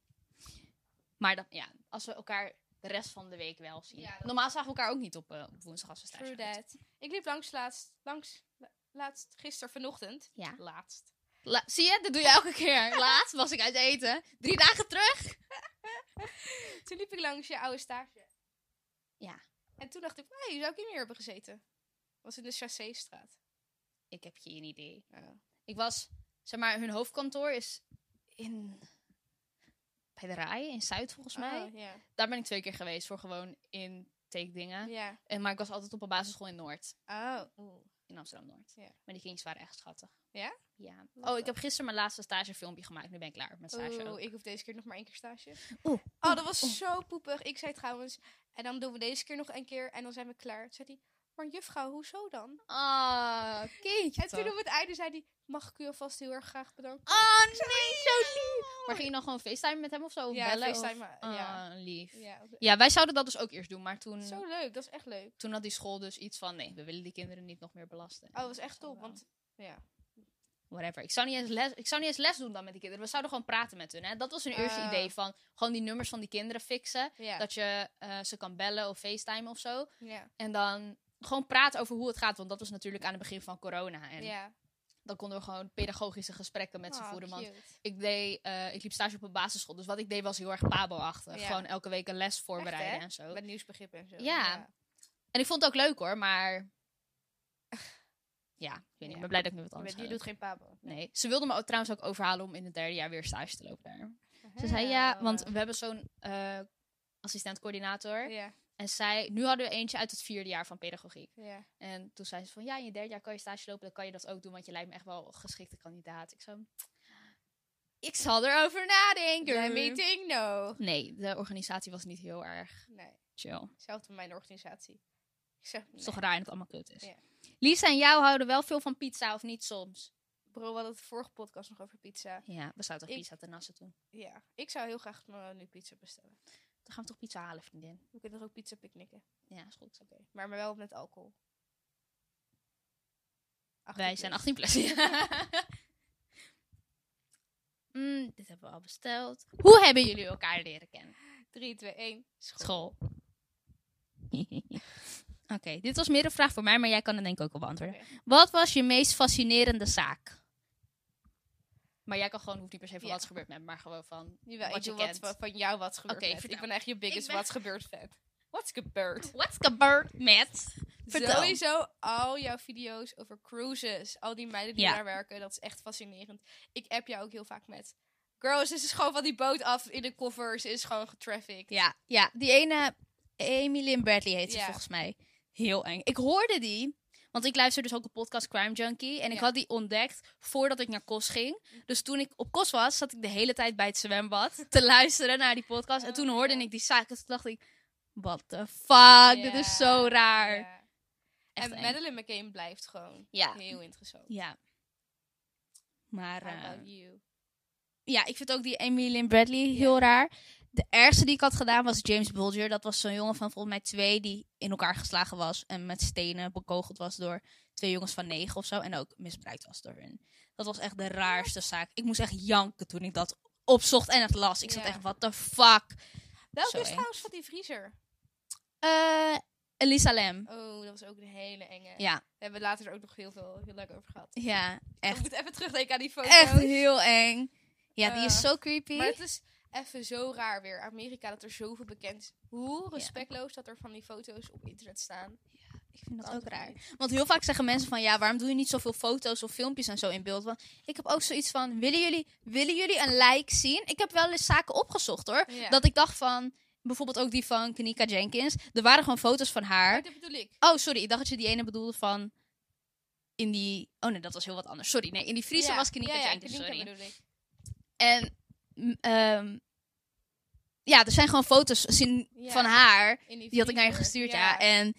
Speaker 2: Maar dan, ja, als we elkaar de rest van de week wel zien.
Speaker 1: Ja, dat-
Speaker 2: Normaal zagen we elkaar ook niet op, eh, op woensdag als we stage
Speaker 1: True
Speaker 2: hadden.
Speaker 1: that. Ik liep langs laatst, langs, la- laatst, gisteren vanochtend.
Speaker 2: Ja.
Speaker 1: Laatst.
Speaker 2: La- zie je, dat doe je elke keer. Laatst was ik uit eten. Drie dagen terug.
Speaker 1: Toen liep ik langs je oude stage.
Speaker 2: Ja.
Speaker 1: En toen dacht ik, hé, hey, zou ik hier meer hebben gezeten? Was in de Chasséstraat.
Speaker 2: Ik heb geen idee.
Speaker 1: Oh.
Speaker 2: Ik was, zeg maar, hun hoofdkantoor is in... Bij de Rai, in Zuid volgens mij.
Speaker 1: Oh, ja.
Speaker 2: Daar ben ik twee keer geweest voor gewoon intake dingen.
Speaker 1: Ja.
Speaker 2: En, maar ik was altijd op een basisschool in Noord.
Speaker 1: Oh.
Speaker 2: In Amsterdam-Noord.
Speaker 1: Ja.
Speaker 2: Maar die kindjes waren echt schattig.
Speaker 1: Ja?
Speaker 2: Ja.
Speaker 1: Wat
Speaker 2: Oh, ik
Speaker 1: dan?
Speaker 2: heb gisteren mijn laatste stagefilmpje gemaakt. Nu ben ik klaar met stage ook.
Speaker 1: Oeh, ik hoef deze keer nog maar één keer stage.
Speaker 2: Oeh,
Speaker 1: Oh, dat was zo poepig. Ik zei trouwens, en dan doen we deze keer nog een keer en dan zijn we klaar. Toen zei hij, maar juffrouw, hoezo dan?
Speaker 2: Ah, kindje
Speaker 1: En toen op het einde zei hij, mag ik u alvast heel erg graag bedanken?
Speaker 2: Oh nee, zo lief. Maar ging je dan gewoon FaceTime met hem of zo? Of
Speaker 1: Ja,
Speaker 2: bellen?
Speaker 1: FaceTime,
Speaker 2: Of...
Speaker 1: ja.
Speaker 2: Ah, lief. Ja.
Speaker 1: Ja,
Speaker 2: wij zouden dat dus ook eerst doen. Maar toen,
Speaker 1: zo leuk. Dat is echt leuk.
Speaker 2: toen had die school dus iets van... Nee, we willen die kinderen niet nog meer belasten.
Speaker 1: Oh, dat was echt
Speaker 2: Zo
Speaker 1: top,
Speaker 2: wel.
Speaker 1: want ja.
Speaker 2: Whatever. Ik zou, niet eens les, ik zou niet eens les doen dan met die kinderen. We zouden gewoon praten met hun. Hè? Dat was hun eerste
Speaker 1: Ah.
Speaker 2: idee van... Gewoon die nummers van die kinderen fixen.
Speaker 1: Ja.
Speaker 2: Dat je eh, ze kan bellen of FaceTime of zo.
Speaker 1: ja.
Speaker 2: En dan gewoon praten over hoe het gaat. Want dat was natuurlijk aan het begin van corona. En
Speaker 1: ja.
Speaker 2: dan konden we gewoon pedagogische gesprekken met ze
Speaker 1: Oh,
Speaker 2: voeren. Want
Speaker 1: cute.
Speaker 2: ik, deed, eh, ik liep stage op een basisschool. Dus wat ik deed was heel erg pabo-achtig.
Speaker 1: Ja.
Speaker 2: Gewoon elke week een les voorbereiden
Speaker 1: Echt,
Speaker 2: en zo.
Speaker 1: Met nieuwsbegrippen en zo.
Speaker 2: Ja. En ik vond het ook leuk hoor, maar... Ja, ik weet niet.
Speaker 1: Ja.
Speaker 2: Ik ben blij dat ik nu wat
Speaker 1: Je,
Speaker 2: anders
Speaker 1: bent- je
Speaker 2: ga
Speaker 1: doet geen pabo.
Speaker 2: doen. Nee. Ze wilden me ook trouwens ook overhalen om in het derde jaar weer stage te lopen daar. Ze zei ja, want we hebben zo'n eh assistent-coördinator.
Speaker 1: Ja,
Speaker 2: En zij... Nu hadden we eentje uit het vierde jaar van pedagogiek.
Speaker 1: ja.
Speaker 2: En toen zei ze van, ja, in je derde jaar kan je stage lopen, dan kan je dat ook doen, want je lijkt me echt wel een geschikte kandidaat. Ik zo, ik zal erover nadenken.
Speaker 1: Jij meeting? No.
Speaker 2: Nee, de organisatie was niet heel erg
Speaker 1: Nee.
Speaker 2: chill. Het
Speaker 1: Zelfde met mijn organisatie. Ik zeg,
Speaker 2: is
Speaker 1: nee.
Speaker 2: toch raar dat het allemaal kut is.
Speaker 1: Ja.
Speaker 2: Lisa en jou houden wel veel van pizza, of niet soms?
Speaker 1: Bro, we hadden het vorige podcast nog over pizza.
Speaker 2: Ja, we zouden toch
Speaker 1: Ik-
Speaker 2: pizza ten nassen doen.
Speaker 1: Ja, ik zou heel graag eh, nu pizza bestellen.
Speaker 2: Dan gaan we toch pizza halen, vriendin.
Speaker 1: We kunnen er ook pizza picknicken.
Speaker 2: Ja, is goed.
Speaker 1: Oké. Maar, maar wel met alcohol. 18
Speaker 2: Wij zijn
Speaker 1: plus.
Speaker 2: 18 plus. Mm, dit hebben we al besteld. Hoe hebben jullie elkaar leren kennen?
Speaker 1: 3, 2, 1. School.
Speaker 2: School. Oké, dit was meer een vraag voor mij, maar jij kan het denk ik ook wel beantwoorden. Wat was je meest fascinerende zaak? Maar jij kan gewoon, hoeft niet per se van
Speaker 1: Ja.
Speaker 2: wat is gebeurd met, maar gewoon van
Speaker 1: Jawel, ik
Speaker 2: wat je
Speaker 1: doe wat
Speaker 2: kent.
Speaker 1: van- van jou wat gebeurt.
Speaker 2: Oké,
Speaker 1: net.
Speaker 2: vertel.
Speaker 1: ik ben echt je biggest
Speaker 2: ben-
Speaker 1: wat gebeurt fan. What's gebeurd?
Speaker 2: What's gebeurd met? Vertel.
Speaker 1: Sowieso al jouw video's over cruises. Al die meiden die
Speaker 2: Ja.
Speaker 1: daar werken. Dat is echt fascinerend. Ik app jou ook heel vaak met... Girls, ze is gewoon van die boot af in de koffer. Ze is gewoon getrafficked.
Speaker 2: Ja, ja, die ene, Emilyn Bradley heet ze
Speaker 1: Ja.
Speaker 2: volgens mij. Heel eng. Ik hoorde die, want ik luister dus ook een podcast Crime Junkie. En ik
Speaker 1: Ja.
Speaker 2: had die ontdekt voordat ik naar Kos ging. Dus toen ik op Kos was, zat ik de hele tijd bij het zwembad te luisteren naar die podcast. En toen
Speaker 1: Oh,
Speaker 2: hoorde
Speaker 1: ja.
Speaker 2: ik die zaak. En toen dacht ik, what the fuck, dit is zo
Speaker 1: Ja,
Speaker 2: raar.
Speaker 1: ja. En
Speaker 2: Echt eng.
Speaker 1: Madeleine McCain blijft gewoon
Speaker 2: Ja.
Speaker 1: heel interessant.
Speaker 2: Ja. Maar
Speaker 1: How
Speaker 2: eh,
Speaker 1: about you?
Speaker 2: ja, ik vind ook die Emilyn Bradley heel raar. De ergste die ik had gedaan was James Bulger. Dat was zo'n jongen van volgens mij twee die in elkaar geslagen was. En met stenen bekogeld was door twee jongens van negen of zo. En ook misbruikt was door hun. Dat was echt de raarste zaak. Ik moest echt janken toen ik dat opzocht en het las. Ik zat
Speaker 1: Ja.
Speaker 2: echt, what the fuck?
Speaker 1: Welke
Speaker 2: Zo
Speaker 1: is
Speaker 2: eng.
Speaker 1: trouwens van die vriezer?
Speaker 2: Eh, Elisa Lam.
Speaker 1: Oh, dat was ook een hele enge.
Speaker 2: Ja,
Speaker 1: We hebben later er ook nog heel veel heel leuk over gehad.
Speaker 2: ja,
Speaker 1: Ik
Speaker 2: echt.
Speaker 1: moet even terugdenken aan die foto's.
Speaker 2: Echt heel eng. Ja, die is
Speaker 1: Eh,
Speaker 2: zo creepy.
Speaker 1: Maar het is even zo raar weer. Amerika dat er zoveel bekend is. Hoe respectloos dat er van die foto's op internet staan.
Speaker 2: Ik vind dat
Speaker 1: Kan
Speaker 2: ook
Speaker 1: toch
Speaker 2: raar.
Speaker 1: niet?
Speaker 2: Want heel vaak zeggen mensen van ja, waarom doe je niet zoveel foto's of filmpjes en zo in beeld? Want ik heb ook zoiets van: willen jullie, willen jullie een like zien? Ik heb wel eens zaken opgezocht hoor.
Speaker 1: Ja.
Speaker 2: Dat ik dacht van, bijvoorbeeld ook die van Kanika Jenkins. Er waren gewoon foto's van
Speaker 1: Maar
Speaker 2: haar.
Speaker 1: dat bedoel ik.
Speaker 2: Oh, sorry, ik dacht dat je die ene bedoelde van. In die. Oh nee, dat was heel wat anders. Sorry, nee, in die Friese
Speaker 1: Ja,
Speaker 2: was Kanika
Speaker 1: ja, ja,
Speaker 2: Jenkins.
Speaker 1: Kanika
Speaker 2: sorry.
Speaker 1: bedoel ik.
Speaker 2: En. mm, ehm, ja, er zijn gewoon foto's zien
Speaker 1: Ja.
Speaker 2: van haar.
Speaker 1: In
Speaker 2: Die had ik naar
Speaker 1: vriezer.
Speaker 2: je gestuurd, ja. En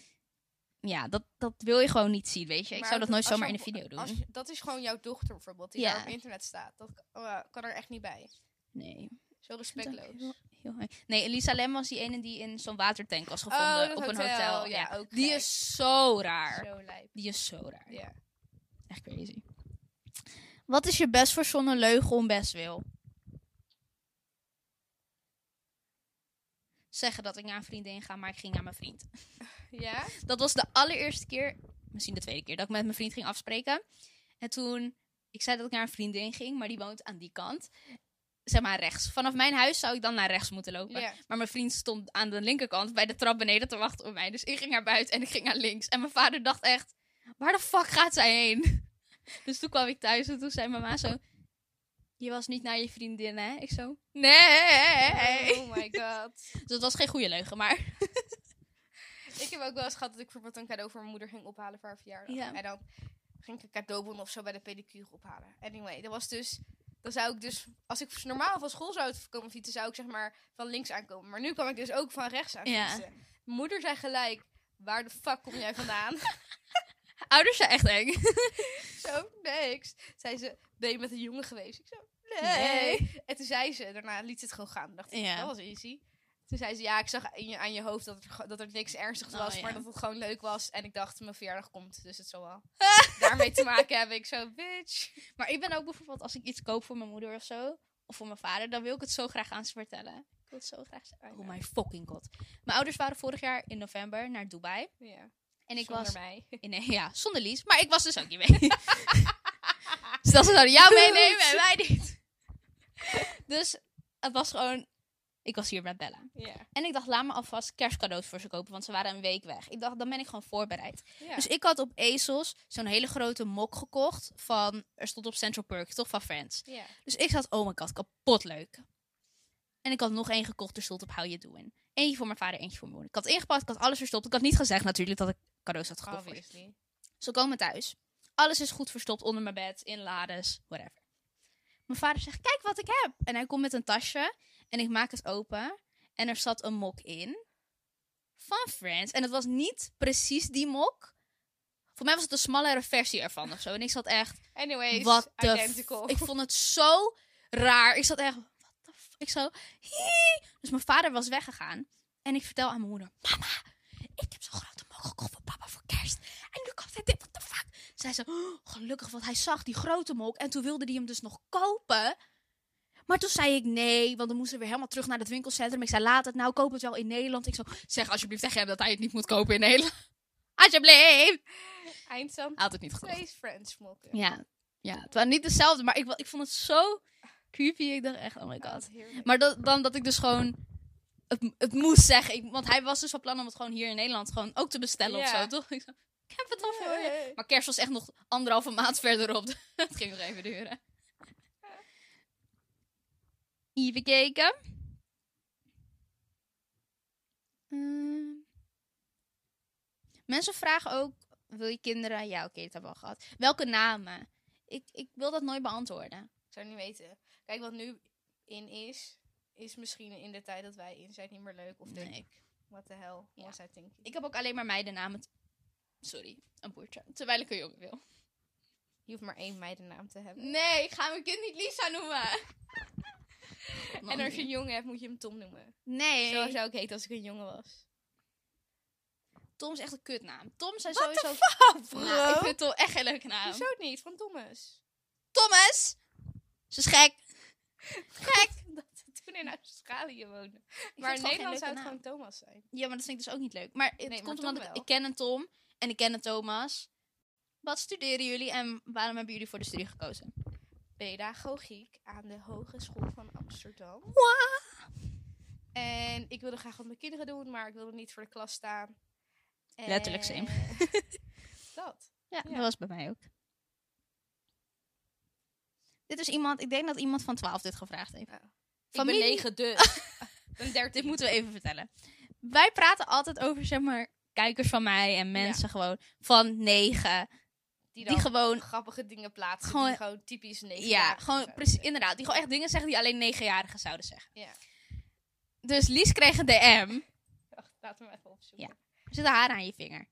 Speaker 2: ja, dat, dat wil je gewoon niet zien, weet je. Ik
Speaker 1: Maar
Speaker 2: zou dat nooit
Speaker 1: als
Speaker 2: zomaar in
Speaker 1: jouw
Speaker 2: een
Speaker 1: mo-
Speaker 2: video doen.
Speaker 1: als je- dat is gewoon jouw dochter bijvoorbeeld, die
Speaker 2: Ja.
Speaker 1: daar op internet staat. Dat k- oh, kan er echt niet bij.
Speaker 2: Nee.
Speaker 1: Zo
Speaker 2: Dat is ook
Speaker 1: respectloos.
Speaker 2: heel- heel eng. Nee, Elisa Lem was die ene die in zo'n watertank was
Speaker 1: Oh,
Speaker 2: gevonden
Speaker 1: dat
Speaker 2: op een hotel. Ja.
Speaker 1: ook
Speaker 2: Die
Speaker 1: gek.
Speaker 2: is zo raar.
Speaker 1: zo lijp.
Speaker 2: Die is zo raar.
Speaker 1: Ja.
Speaker 2: Echt crazy. Wat is je best verzonnen leugen om best wil? Zeggen dat ik naar een vriendin ga, maar ik ging naar mijn vriend.
Speaker 1: Ja?
Speaker 2: Dat was de allereerste keer, misschien de tweede keer, dat ik met mijn vriend ging afspreken. En toen, ik zei dat ik naar een vriendin ging, maar die woont aan die kant. Zeg maar rechts. Vanaf mijn huis zou ik dan naar rechts moeten lopen.
Speaker 1: Ja.
Speaker 2: Maar mijn vriend stond aan de linkerkant bij de trap beneden te wachten op mij. Dus ik ging naar buiten en ik ging naar links. En mijn vader dacht echt, waar de fuck gaat zij heen? Dus toen kwam ik thuis en toen zei mama zo... Je was niet naar je vriendin, hè? Ik zo... Nee!
Speaker 1: Oh my god.
Speaker 2: Dus dat was geen goede leugen, maar...
Speaker 1: ik heb ook wel eens gehad dat ik bijvoorbeeld een cadeau voor mijn moeder ging ophalen voor haar verjaardag.
Speaker 2: Ja.
Speaker 1: En dan ging ik een cadeaubon of zo bij de pedicure ophalen. Anyway, dat was dus... Dan zou ik dus, als ik normaal van school zou komen fietsen, zou ik zeg maar van links aankomen. Maar nu kwam ik dus ook van rechts aan
Speaker 2: Ja.
Speaker 1: fietsen. Mijn Moeder zei gelijk, waar de fuck kom jij vandaan?
Speaker 2: Ouders zijn echt eng.
Speaker 1: zo, niks. Zei ze, ben je met een jongen geweest? Ik zo, nee.
Speaker 2: Nee.
Speaker 1: En toen zei ze, daarna liet ze het gewoon gaan. Toen dacht ik,
Speaker 2: Ja.
Speaker 1: dat was easy. Toen zei ze, ja, ik zag in je, aan je hoofd dat er, ge- dat er niks ernstigs
Speaker 2: Oh,
Speaker 1: was,
Speaker 2: ja.
Speaker 1: maar dat het gewoon leuk was. En ik dacht, mijn verjaardag komt, dus het zal wel. Daarmee te maken hebben. Ik zo, bitch.
Speaker 2: Maar ik ben ook bijvoorbeeld, als ik iets koop voor mijn moeder of zo, of voor mijn vader, dan wil ik het zo graag aan ze vertellen. Ik wil het zo graag zeggen. Oh my fucking god. Mijn ouders waren vorig jaar in november naar Dubai.
Speaker 1: Ja.
Speaker 2: En ik
Speaker 1: Zonder
Speaker 2: was...
Speaker 1: mij.
Speaker 2: Nee, ja, zonder Lies. Maar ik was dus ook niet mee. Stel ze zouden jou meenemen en wij niet. Dus het was gewoon... Ik was hier met Bella.
Speaker 1: Ja.
Speaker 2: En ik dacht, laat me alvast kerstcadeaus voor ze kopen, want ze waren een week weg. Ik dacht, dan ben ik gewoon voorbereid.
Speaker 1: ja.
Speaker 2: Dus ik had op ASOS zo'n hele grote mok gekocht van... Er stond op Central Perk, toch? Van Friends.
Speaker 1: ja.
Speaker 2: Dus ik zat, oh my god, kapot leuk. En ik had nog één gekocht, er stond op How You Doing. Eentje voor mijn vader, eentje voor mijn moeder. Ik had ingepakt, ik had alles verstopt. Ik had niet gezegd natuurlijk dat ik cadeaus had gekocht. voor ze.
Speaker 1: Obviously.
Speaker 2: Ze komen thuis. Alles is goed verstopt onder mijn bed, in lades, whatever. Mijn vader zegt, kijk wat ik heb. En hij komt met een tasje en ik maak het open. En er zat een mok in van Friends. En het was niet precies die mok, Voor mij was het een smallere versie ervan of zo. En ik zat echt.
Speaker 1: Anyways,
Speaker 2: What the f-
Speaker 1: identical.
Speaker 2: Ik vond het zo raar. Ik zat echt. What the f-" Ik zo. "Hie." Dus mijn vader was weggegaan. En ik vertel aan mijn moeder: Mama, ik heb zo'n grote mogen gekocht voor papa voor kerst. En nu komt hij dit, what the fuck? Zij zei: "Oh, Gelukkig, want hij zag die grote mok. En toen wilde hij hem dus nog kopen. Maar toen zei ik nee, want dan moesten we weer helemaal terug naar het winkelcentrum. Ik zei: Laat het nou, koop het wel in Nederland. Ik zo: Zeg alsjeblieft tegen hem dat hij het niet moet kopen in Nederland. Alsjeblieft!
Speaker 1: Eindstand.
Speaker 2: Hij had het niet gekocht.
Speaker 1: Twee friends smokken.
Speaker 2: Ja, ja, het waren niet dezelfde, maar ik, wa- ik vond het zo creepy. Ik dacht echt, oh my
Speaker 1: Oh,
Speaker 2: god.
Speaker 1: wat heerlijk.
Speaker 2: Maar dat, dan dat ik dus gewoon het, het moest zeggen. Ik- want hij was dus van plan om het gewoon hier in Nederland gewoon ook te bestellen of
Speaker 1: Ja.
Speaker 2: zo, toch? Ik, zo, ik heb het al voor je.
Speaker 1: Hey.
Speaker 2: Maar kerst was echt nog anderhalve maand verderop. dus Het ging nog even duren. Even kijken. Ehm. mensen vragen ook, wil je kinderen? Ja, oké, dat hebben we al gehad. Welke namen? Ik, ik wil dat nooit beantwoorden.
Speaker 1: Ik zou niet weten. Kijk, wat nu in is, is misschien in de tijd dat wij in zijn niet meer leuk. Of denk
Speaker 2: Nee.
Speaker 1: ik, what the hell
Speaker 2: Ja.
Speaker 1: was I thinking?
Speaker 2: Ik heb ook alleen maar meidennamen. t- Sorry, een boertje. Terwijl ik een jongen wil.
Speaker 1: Je hoeft maar één meidennaam te hebben.
Speaker 2: Nee, ik ga mijn kind niet Lisa noemen.
Speaker 1: en als je een jongen hebt, moet je hem Tom noemen.
Speaker 2: Nee.
Speaker 1: Zo zou ik heten als ik een jongen was.
Speaker 2: Tom is echt een kutnaam. Tom zijn sowieso...
Speaker 1: Nou,
Speaker 2: Nou, ik vind Tom echt geen leuke naam.
Speaker 1: Hoezo niet? Van Thomas.
Speaker 2: Thomas! Ze is gek.
Speaker 1: Gek! dat we toen in Australië woonden. Maar in
Speaker 2: gewoon geen
Speaker 1: Nederland zou het
Speaker 2: leuke
Speaker 1: gewoon Thomas zijn.
Speaker 2: Ja, maar dat vind ik dus ook niet leuk. Maar het
Speaker 1: maar
Speaker 2: komt
Speaker 1: Tom
Speaker 2: omdat ik,
Speaker 1: wel.
Speaker 2: ik ken een Tom en ik ken een Thomas. Wat studeren jullie en waarom hebben jullie voor de studie gekozen?
Speaker 1: Pedagogiek aan de Hogeschool van Amsterdam.
Speaker 2: Wow.
Speaker 1: En ik wilde graag wat mijn kinderen doen, maar ik wilde niet voor de klas staan. En-
Speaker 2: Letterlijk same.
Speaker 1: dat. Ja.
Speaker 2: Ja, dat was bij mij ook. Dit is iemand, ik denk dat iemand van 12 dit gevraagd heeft.
Speaker 1: Oh.
Speaker 2: Familie-
Speaker 1: dus. Een
Speaker 2: Dit
Speaker 1: dertien.
Speaker 2: moeten we even vertellen. Wij praten altijd over, zeg maar, kijkers van mij en mensen gewoon van 9.
Speaker 1: die,
Speaker 2: Die
Speaker 1: dan
Speaker 2: gewoon,
Speaker 1: grappige dingen plaatsen.
Speaker 2: Gewoon-
Speaker 1: die gewoon typisch negen
Speaker 2: ja, gewoon precies, inderdaad. Die gewoon echt dingen zeggen die alleen 9-jarigen zouden zeggen.
Speaker 1: Ja.
Speaker 2: Dus Lies kreeg een DM.
Speaker 1: Wacht, laten we hem even opzoeken.
Speaker 2: Ja. Er zitten haren aan je vinger.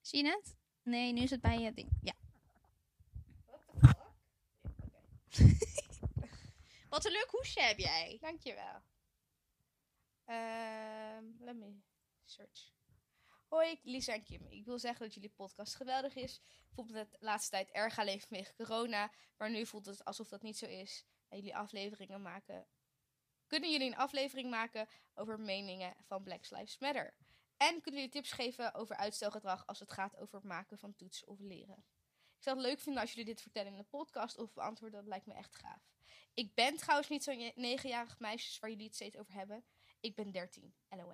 Speaker 2: Zie je het? Nee, nu is het bij je ding. Ja.
Speaker 1: What the fuck? Oké.
Speaker 2: Wat een leuk hoesje heb jij.
Speaker 1: Dankjewel. Ehm let me search. Hoi, Lisa en Kim. Ik wil zeggen dat jullie podcast geweldig is. Ik voelde het de laatste tijd erg alleen vanwege corona. Maar nu voelt het alsof dat niet zo is. En jullie afleveringen maken. Kunnen jullie een aflevering maken over meningen van Black Lives Matter? En kunnen jullie tips geven over uitstelgedrag als het gaat over het maken van toetsen of leren? Ik zou het leuk vinden als jullie dit vertellen in de podcast of beantwoorden. Dat lijkt me echt gaaf. Ik ben trouwens niet zo'n je- negenjarig meisje waar jullie het steeds over hebben. Ik ben 13. LOL.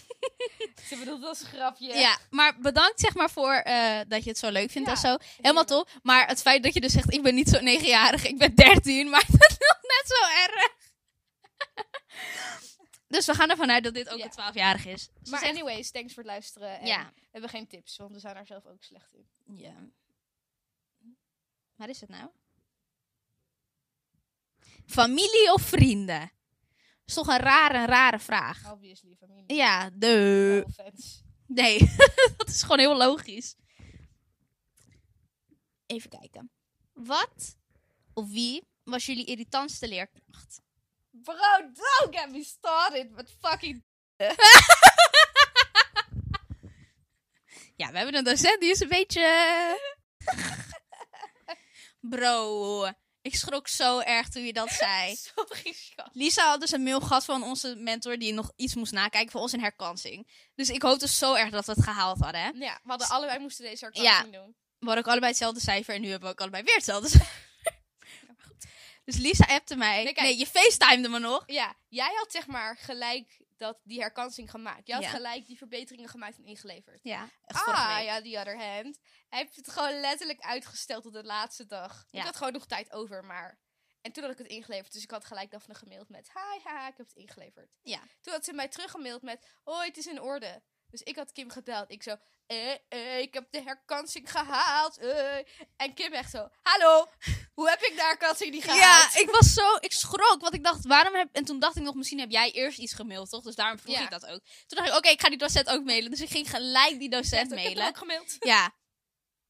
Speaker 1: Ze bedoelt dat als een grapje.
Speaker 2: Ja, maar bedankt zeg maar voor eh, dat je het zo leuk vindt
Speaker 1: Ja,
Speaker 2: en zo. Helemaal top. Maar het feit dat je dus zegt, ik ben niet zo 9-jarig, ik ben 13, maar dat is nog net zo erg. dus we gaan ervan uit dat dit ook
Speaker 1: Ja.
Speaker 2: een 12-jarig is. Ze
Speaker 1: Maar
Speaker 2: zegt-
Speaker 1: anyways, thanks voor het luisteren. En
Speaker 2: ja.
Speaker 1: We hebben geen tips, want we zijn daar zelf ook slecht in.
Speaker 2: ja. Waar is het nou? Familie of vrienden? is toch een rare, rare vraag.
Speaker 1: Obviously, familie.
Speaker 2: Ja, de.
Speaker 1: No offense.
Speaker 2: Nee, dat is gewoon heel logisch. Even kijken. Wat of wie was jullie irritantste leerkracht?
Speaker 1: Bro, don't get me started with fucking...
Speaker 2: Ja, we hebben een docent die is een beetje. Bro, ik schrok zo erg toen je dat zei.
Speaker 1: Sorry, schat.
Speaker 2: Lisa had dus een mail gehad van onze mentor die nog iets moest nakijken voor ons in herkansing. Dus ik hoopte zo erg dat we het gehaald hadden. Hè?
Speaker 1: Ja, we hadden allebei moesten deze
Speaker 2: Ja.
Speaker 1: herkansing doen.
Speaker 2: We hadden ook allebei hetzelfde cijfer en nu hebben we ook allebei weer hetzelfde cijfer. Maar goed. Dus Lisa appte mij.
Speaker 1: Nee,
Speaker 2: Nee,
Speaker 1: kijk.
Speaker 2: je facetimede me nog.
Speaker 1: Ja, jij had zeg maar gelijk dat die herkansing gemaakt. Jij had
Speaker 2: Ja.
Speaker 1: gelijk die verbeteringen gemaakt en ingeleverd.
Speaker 2: Ja, echt vorige
Speaker 1: Ah,
Speaker 2: week.
Speaker 1: ja, the other hand. Hij heeft het gewoon letterlijk uitgesteld tot de laatste dag.
Speaker 2: Ja.
Speaker 1: Ik had gewoon nog tijd over, maar... En toen had ik het ingeleverd, dus ik had gelijk Daphne gemaild met... Hi, haha, ik heb het ingeleverd.
Speaker 2: Ja.
Speaker 1: Toen had ze mij teruggemaild met... Hoi, het is in orde. Dus ik had Kim gebeld. Ik zo... Eh, eh, ik heb de herkansing gehaald. eh. En Kim echt zo... Hallo, hoe heb ik de herkansing niet gehaald?
Speaker 2: Ja, ik was zo, ik schrok, want ik dacht, waarom heb, en toen dacht ik nog, misschien heb jij eerst iets gemaild, toch? Dus daarom vroeg
Speaker 1: Ja.
Speaker 2: ik dat ook. Toen dacht ik, oké, ik ga die docent ook mailen. Dus ik ging gelijk die
Speaker 1: Echt,
Speaker 2: docent
Speaker 1: ik heb hem
Speaker 2: mailen.
Speaker 1: ook gemaild.
Speaker 2: Ja,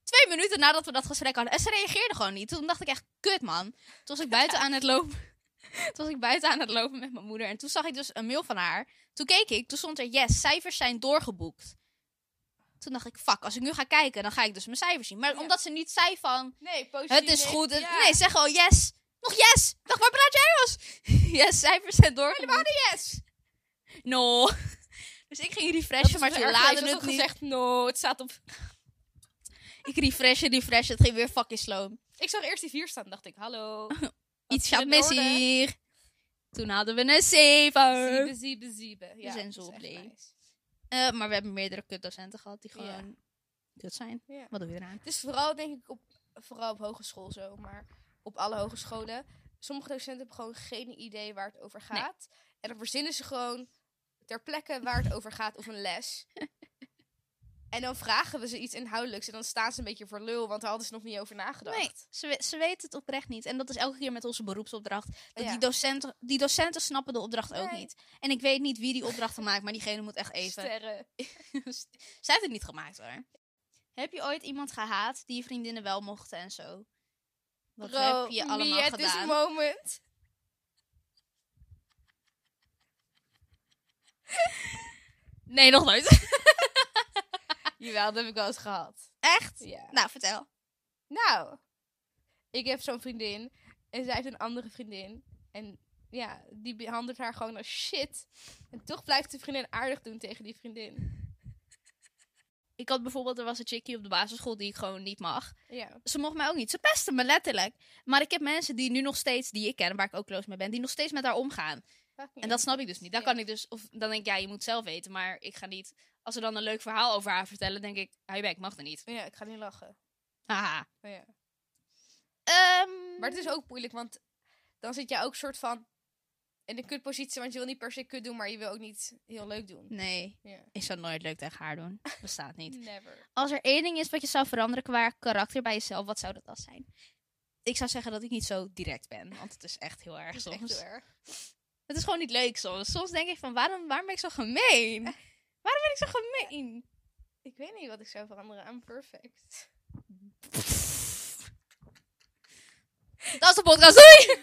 Speaker 2: twee minuten nadat we dat gesprek hadden. En ze reageerde gewoon niet. Toen dacht ik echt, kut man. Toen was ik buiten aan het lopen. Toen was ik buiten aan het lopen met mijn moeder. En toen zag ik dus een mail van haar. Toen keek ik, toen stond er, yes, cijfers zijn doorgeboekt. Toen dacht ik, fuck, als ik nu ga kijken, dan ga ik dus mijn cijfers zien. Maar
Speaker 1: Ja.
Speaker 2: omdat ze niet zei van,
Speaker 1: Nee, positief.
Speaker 2: het is goed. het-
Speaker 1: negatief, ja.
Speaker 2: Nee, zeg gewoon yes. Nog yes. Dag, waar praat jij was? yes, cijfers zijn door. Helemaal yes. No. Dus ik ging
Speaker 1: Dat
Speaker 2: refreshen,
Speaker 1: is
Speaker 2: maar
Speaker 1: wel
Speaker 2: ze
Speaker 1: erg
Speaker 2: laden
Speaker 1: geweest,
Speaker 2: het
Speaker 1: was
Speaker 2: niet.
Speaker 1: ook gezegd, no, het staat op...
Speaker 2: Ik refreshen, refreshen. Het ging weer fucking slow.
Speaker 1: Ik zag eerst die vier staan, dacht ik, hallo.
Speaker 2: Oh.
Speaker 1: wat
Speaker 2: Iets
Speaker 1: is
Speaker 2: gaat
Speaker 1: in
Speaker 2: mis
Speaker 1: orde?
Speaker 2: hier. Toen hadden we een 7.
Speaker 1: Ziebe, ziebe, ziebe. Ja, dat
Speaker 2: zijn
Speaker 1: is
Speaker 2: zo
Speaker 1: echt
Speaker 2: blij.
Speaker 1: nice.
Speaker 2: Eh, maar we hebben meerdere kutdocenten gehad die
Speaker 1: Ja.
Speaker 2: gewoon kut zijn.
Speaker 1: Ja.
Speaker 2: Wat doe je eraan?
Speaker 1: Het is vooral, denk ik, op, vooral op hogeschool zo, maar op alle hogescholen. Sommige docenten hebben gewoon geen idee waar het over
Speaker 2: Nee.
Speaker 1: gaat. En dan verzinnen ze gewoon ter plekke waar het over gaat of een les. en dan vragen we ze iets inhoudelijks en dan staan ze een beetje voor lul, want daar hadden ze nog niet over nagedacht.
Speaker 2: Nee, ze, we- ze weten het oprecht niet. En dat is elke keer met onze beroepsopdracht. Dat
Speaker 1: Ja.
Speaker 2: die, docenten, die docenten snappen de opdracht ook
Speaker 1: Nee.
Speaker 2: niet. En ik weet niet wie die opdrachten maakt, maar diegene moet echt even...
Speaker 1: Sterren.
Speaker 2: Zij heeft het niet gemaakt hoor. Heb je ooit iemand gehaat die je vriendinnen wel mochten en zo? Wat
Speaker 1: Bro,
Speaker 2: heb je
Speaker 1: me
Speaker 2: allemaal
Speaker 1: at this
Speaker 2: gedaan?
Speaker 1: moment.
Speaker 2: Nee, nog nooit.
Speaker 1: Jawel, dat heb ik wel eens gehad.
Speaker 2: Echt?
Speaker 1: Ja.
Speaker 2: Nou, vertel.
Speaker 1: Nou, ik heb zo'n vriendin en zij heeft een andere vriendin. En ja, die behandelt haar gewoon als shit. En toch blijft de vriendin aardig doen tegen die vriendin.
Speaker 2: Ik had bijvoorbeeld, er was een chickie op de basisschool die ik gewoon niet mag.
Speaker 1: Ja.
Speaker 2: Ze mocht mij ook niet. Ze pestte me letterlijk. Maar ik heb mensen die nu nog steeds, die ik ken, waar ik ook close mee ben, die nog steeds met haar omgaan. En dat snap ik dus niet. Dan kan ik dus, of dan denk ik, ja, je moet zelf weten, maar ik ga niet. Als ze dan een leuk verhaal over haar vertellen, denk ik, hou je bek, mag er niet.
Speaker 1: Ja, ik ga niet lachen.
Speaker 2: Haha.
Speaker 1: Maar, Oh, ja.
Speaker 2: Ehm,
Speaker 1: maar het is ook moeilijk, want dan zit jij ook soort van in een kutpositie. Want je wil niet per se kut doen, maar je wil ook niet heel leuk doen.
Speaker 2: Nee,
Speaker 1: Ja.
Speaker 2: ik zou nooit leuk tegen haar doen. Bestaat niet.
Speaker 1: Never.
Speaker 2: Als er één ding is wat je zou veranderen qua karakter bij jezelf, wat zou dat dan zijn? Ik zou zeggen dat ik niet zo direct ben, want het is echt heel
Speaker 1: Dat
Speaker 2: erg
Speaker 1: is
Speaker 2: soms.
Speaker 1: echt heel erg.
Speaker 2: Het is gewoon niet leuk soms. Soms denk ik van, waarom, waarom ben ik zo gemeen? Waarom ben ik zo gemeen?
Speaker 1: Ik weet niet wat ik zou veranderen. I'm perfect.
Speaker 2: Dat is de podcast, doei!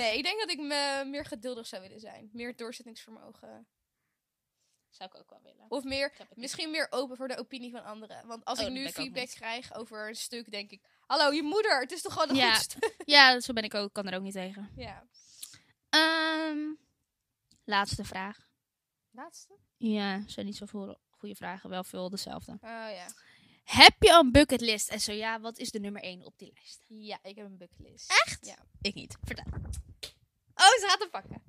Speaker 1: Nee, ik denk dat ik me meer geduldig zou willen zijn. Meer doorzettingsvermogen.
Speaker 2: Zou ik ook wel willen.
Speaker 1: Of meer
Speaker 2: Ik heb het niet.
Speaker 1: Misschien meer open voor de opinie van anderen. Want als
Speaker 2: Oh,
Speaker 1: ik
Speaker 2: dat
Speaker 1: nu
Speaker 2: ben ik ook
Speaker 1: feedback
Speaker 2: niet.
Speaker 1: krijg over een stuk, denk ik... Hallo, je moeder! Het is toch gewoon een
Speaker 2: Ja.
Speaker 1: goed stuk?
Speaker 2: Ja, zo ben ik ook, kan er ook niet tegen.
Speaker 1: Ja.
Speaker 2: Ehm, laatste vraag.
Speaker 1: Laatste?
Speaker 2: Ja, zijn niet zoveel goede vragen, wel veel dezelfde.
Speaker 1: Oh ja.
Speaker 2: Heb je een bucketlist? En zo ja, wat is de nummer 1 op die lijst?
Speaker 1: Ja, ik heb een bucketlist.
Speaker 2: Echt?
Speaker 1: Ja.
Speaker 2: Ik niet. Vertel. Oh, ze gaat hem pakken.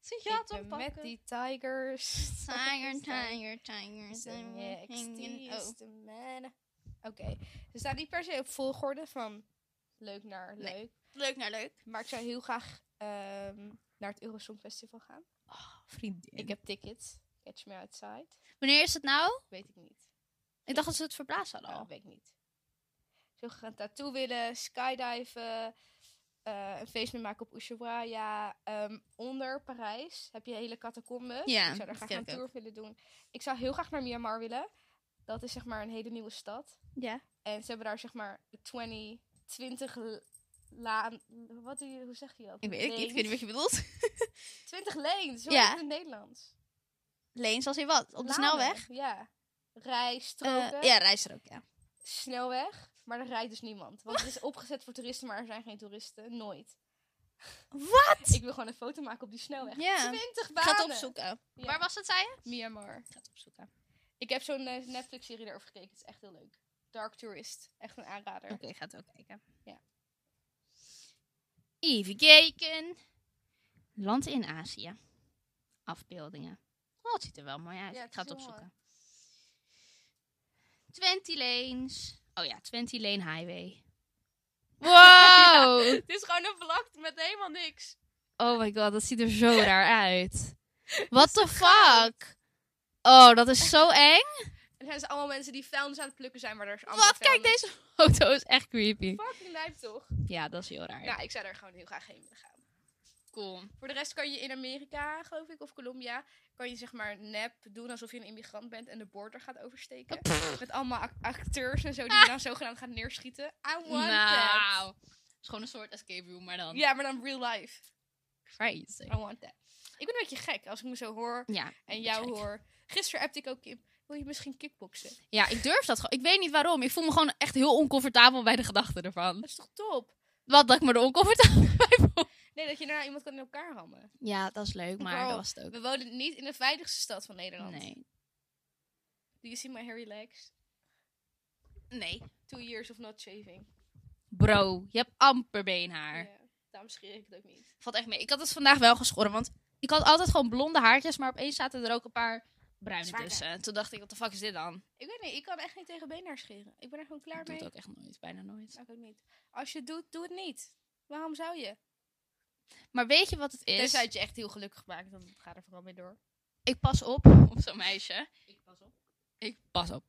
Speaker 2: Ze
Speaker 1: Ik ben met die tigers.
Speaker 2: Tiger,
Speaker 1: Ze staan-
Speaker 2: tiger, tiger.
Speaker 1: ze
Speaker 2: tiger,
Speaker 1: next
Speaker 2: tiger.
Speaker 1: is
Speaker 2: Oh.
Speaker 1: the man. Oké. Ze staan niet per se op volgorde van leuk naar leuk.
Speaker 2: Nee. Leuk naar leuk.
Speaker 1: Maar ik zou heel graag ehm, naar het Eurosong Festival gaan.
Speaker 2: vriendin.
Speaker 1: Ik heb tickets. Catch me outside.
Speaker 2: Wanneer is het nou?
Speaker 1: Weet ik niet.
Speaker 2: Ik dacht dat ze het verplaatst hadden
Speaker 1: Nou,
Speaker 2: al.
Speaker 1: dat weet ik niet. Ik zou graag een tattoo willen, skydiven, eh, een feest mee maken op Ushuaia. Ehm, onder Parijs heb je hele catacombes.
Speaker 2: Ja,
Speaker 1: ik zou
Speaker 2: dat
Speaker 1: daar graag
Speaker 2: ken
Speaker 1: een
Speaker 2: ik
Speaker 1: tour willen doen. Ik zou heel graag naar Myanmar willen. Dat is zeg maar een hele nieuwe stad.
Speaker 2: Ja.
Speaker 1: En ze hebben daar zeg maar 20, 20 l- laan... Wat, die- hoe zeg je dat?
Speaker 2: Ik weet het niet. Ik weet niet
Speaker 1: Lanes.
Speaker 2: wat je bedoelt.
Speaker 1: 20 lanes, hoe
Speaker 2: Ja.
Speaker 1: heet het in het Nederlands?
Speaker 2: Leens als in wat? Op de
Speaker 1: Lanen,
Speaker 2: snelweg?
Speaker 1: Ja. Rijstroken.
Speaker 2: Eh, ja, rijstrook, ja.
Speaker 1: snelweg, maar er rijdt dus niemand. Want het is opgezet voor toeristen, maar er zijn geen toeristen. Nooit.
Speaker 2: Wat?
Speaker 1: Ik wil gewoon een foto maken op die snelweg.
Speaker 2: Ja.
Speaker 1: 20
Speaker 2: Ik
Speaker 1: banen!
Speaker 2: ga het opzoeken.
Speaker 1: Ja.
Speaker 2: Waar was het, zei je?
Speaker 1: Myanmar.
Speaker 2: Ik ga het opzoeken.
Speaker 1: Ik heb zo'n eh, Netflix-serie erover gekeken. Het is echt heel leuk. Dark Tourist. Echt een aanrader.
Speaker 2: Oké, ik ga het ook kijken.
Speaker 1: Ja.
Speaker 2: Even kijken. Land in Azië. Afbeeldingen. Oh, het ziet er wel mooi uit.
Speaker 1: Ja, het
Speaker 2: ik ga
Speaker 1: is
Speaker 2: het
Speaker 1: heel mooi.
Speaker 2: opzoeken. Twenty Lanes. Oh ja, Twenty Lane Highway. Wow!
Speaker 1: Het is gewoon een vlakte met helemaal niks.
Speaker 2: Oh my god, dat ziet er zo raar uit. What the fuck? Oh, dat is zo eng.
Speaker 1: En er zijn dus allemaal mensen die vuilnis aan het plukken zijn, maar er is allemaal
Speaker 2: Wat? Kijk,
Speaker 1: vuilnis.
Speaker 2: deze foto is echt creepy.
Speaker 1: Fucking lijp toch?
Speaker 2: Ja, dat is heel raar.
Speaker 1: Nou, ik zou daar gewoon heel graag heen willen gaan. cool. Voor de rest kan je in Amerika, geloof ik, of Colombia, kan je zeg maar nep doen alsof je een immigrant bent en de border gaat oversteken. Met allemaal ac- acteurs en zo die je dan zogenaamd gaan neerschieten. I want
Speaker 2: Nou,
Speaker 1: that.
Speaker 2: Het is gewoon een soort escape room, maar dan
Speaker 1: Ja, maar dan real life.
Speaker 2: crazy.
Speaker 1: I want that. Ik ben een beetje gek als ik me zo hoor
Speaker 2: Ja,
Speaker 1: en jou
Speaker 2: gek.
Speaker 1: hoor. Gisteren appte ik ook, Kim, wil je misschien kickboksen?
Speaker 2: ja, ik durf dat gewoon. Ik weet niet waarom. Ik voel me gewoon echt heel oncomfortabel bij de gedachte ervan.
Speaker 1: Dat is toch top?
Speaker 2: Wat dat ik me er oncomfortabel bij voel.
Speaker 1: Nee, dat je daarna iemand kan in elkaar hammen.
Speaker 2: Ja, dat is leuk, maar
Speaker 1: Bro.
Speaker 2: dat was het ook.
Speaker 1: We wonen niet in de veiligste stad van Nederland.
Speaker 2: Nee.
Speaker 1: Do you see my hairy legs?
Speaker 2: Nee.
Speaker 1: Two years of not shaving.
Speaker 2: Bro, je hebt amper beenhaar.
Speaker 1: Ja, daarom scheer ik het ook niet.
Speaker 2: Valt echt mee. Ik had het vandaag wel geschoren, want ik had altijd gewoon blonde haartjes, maar opeens zaten er ook een paar bruine
Speaker 1: Zwarte.
Speaker 2: tussen. En toen dacht ik, wat de fuck is dit dan?
Speaker 1: Ik weet niet, ik kan echt niet tegen beenhaar scheren. Ik ben er gewoon klaar
Speaker 2: Ik doe
Speaker 1: mee.
Speaker 2: het ook echt nooit, bijna nooit.
Speaker 1: Zou ik ook niet. Als je het doet, doe het niet. Waarom zou je?
Speaker 2: Maar weet je wat het is?
Speaker 1: Tenzij het je echt heel gelukkig maakt, dan ga er vooral mee door.
Speaker 2: Ik pas op op zo'n meisje.
Speaker 1: Ik pas op.
Speaker 2: Ik pas op.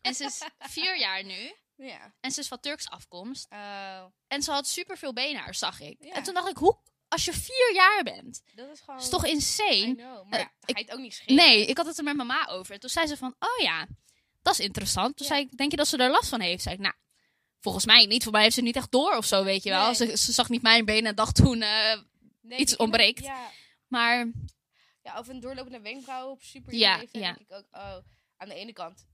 Speaker 2: En ze is vier jaar nu.
Speaker 1: Ja.
Speaker 2: En ze is van Turks afkomst.
Speaker 1: Oh,
Speaker 2: En ze had superveel beenhaar, zag ik.
Speaker 1: Ja. Oh,
Speaker 2: En toen dacht ik, hoe, als je vier jaar bent,
Speaker 1: dat is gewoon...
Speaker 2: is toch
Speaker 1: I
Speaker 2: insane?
Speaker 1: know, maar
Speaker 2: Eh,
Speaker 1: ja, ga
Speaker 2: ik-
Speaker 1: je het ook niet scheren?
Speaker 2: Nee, ik had het er met mama over. En toen zei ze van, oh ja, dat is interessant. Toen
Speaker 1: Ja.
Speaker 2: zei ik, denk je dat ze er last van heeft? Zei ik, nou, volgens mij niet. Voor mij heeft ze niet echt door of zo, weet je wel.
Speaker 1: Nee.
Speaker 2: Ze, ze zag niet mijn benen en dacht toen,
Speaker 1: Nee,
Speaker 2: eh, iets
Speaker 1: die inner-
Speaker 2: ontbreekt.
Speaker 1: Ja,
Speaker 2: maar
Speaker 1: ja, of een doorlopende wenkbrauw op super
Speaker 2: Ja,
Speaker 1: ja,
Speaker 2: ja.
Speaker 1: denk ik ook, oh, aan de ene kant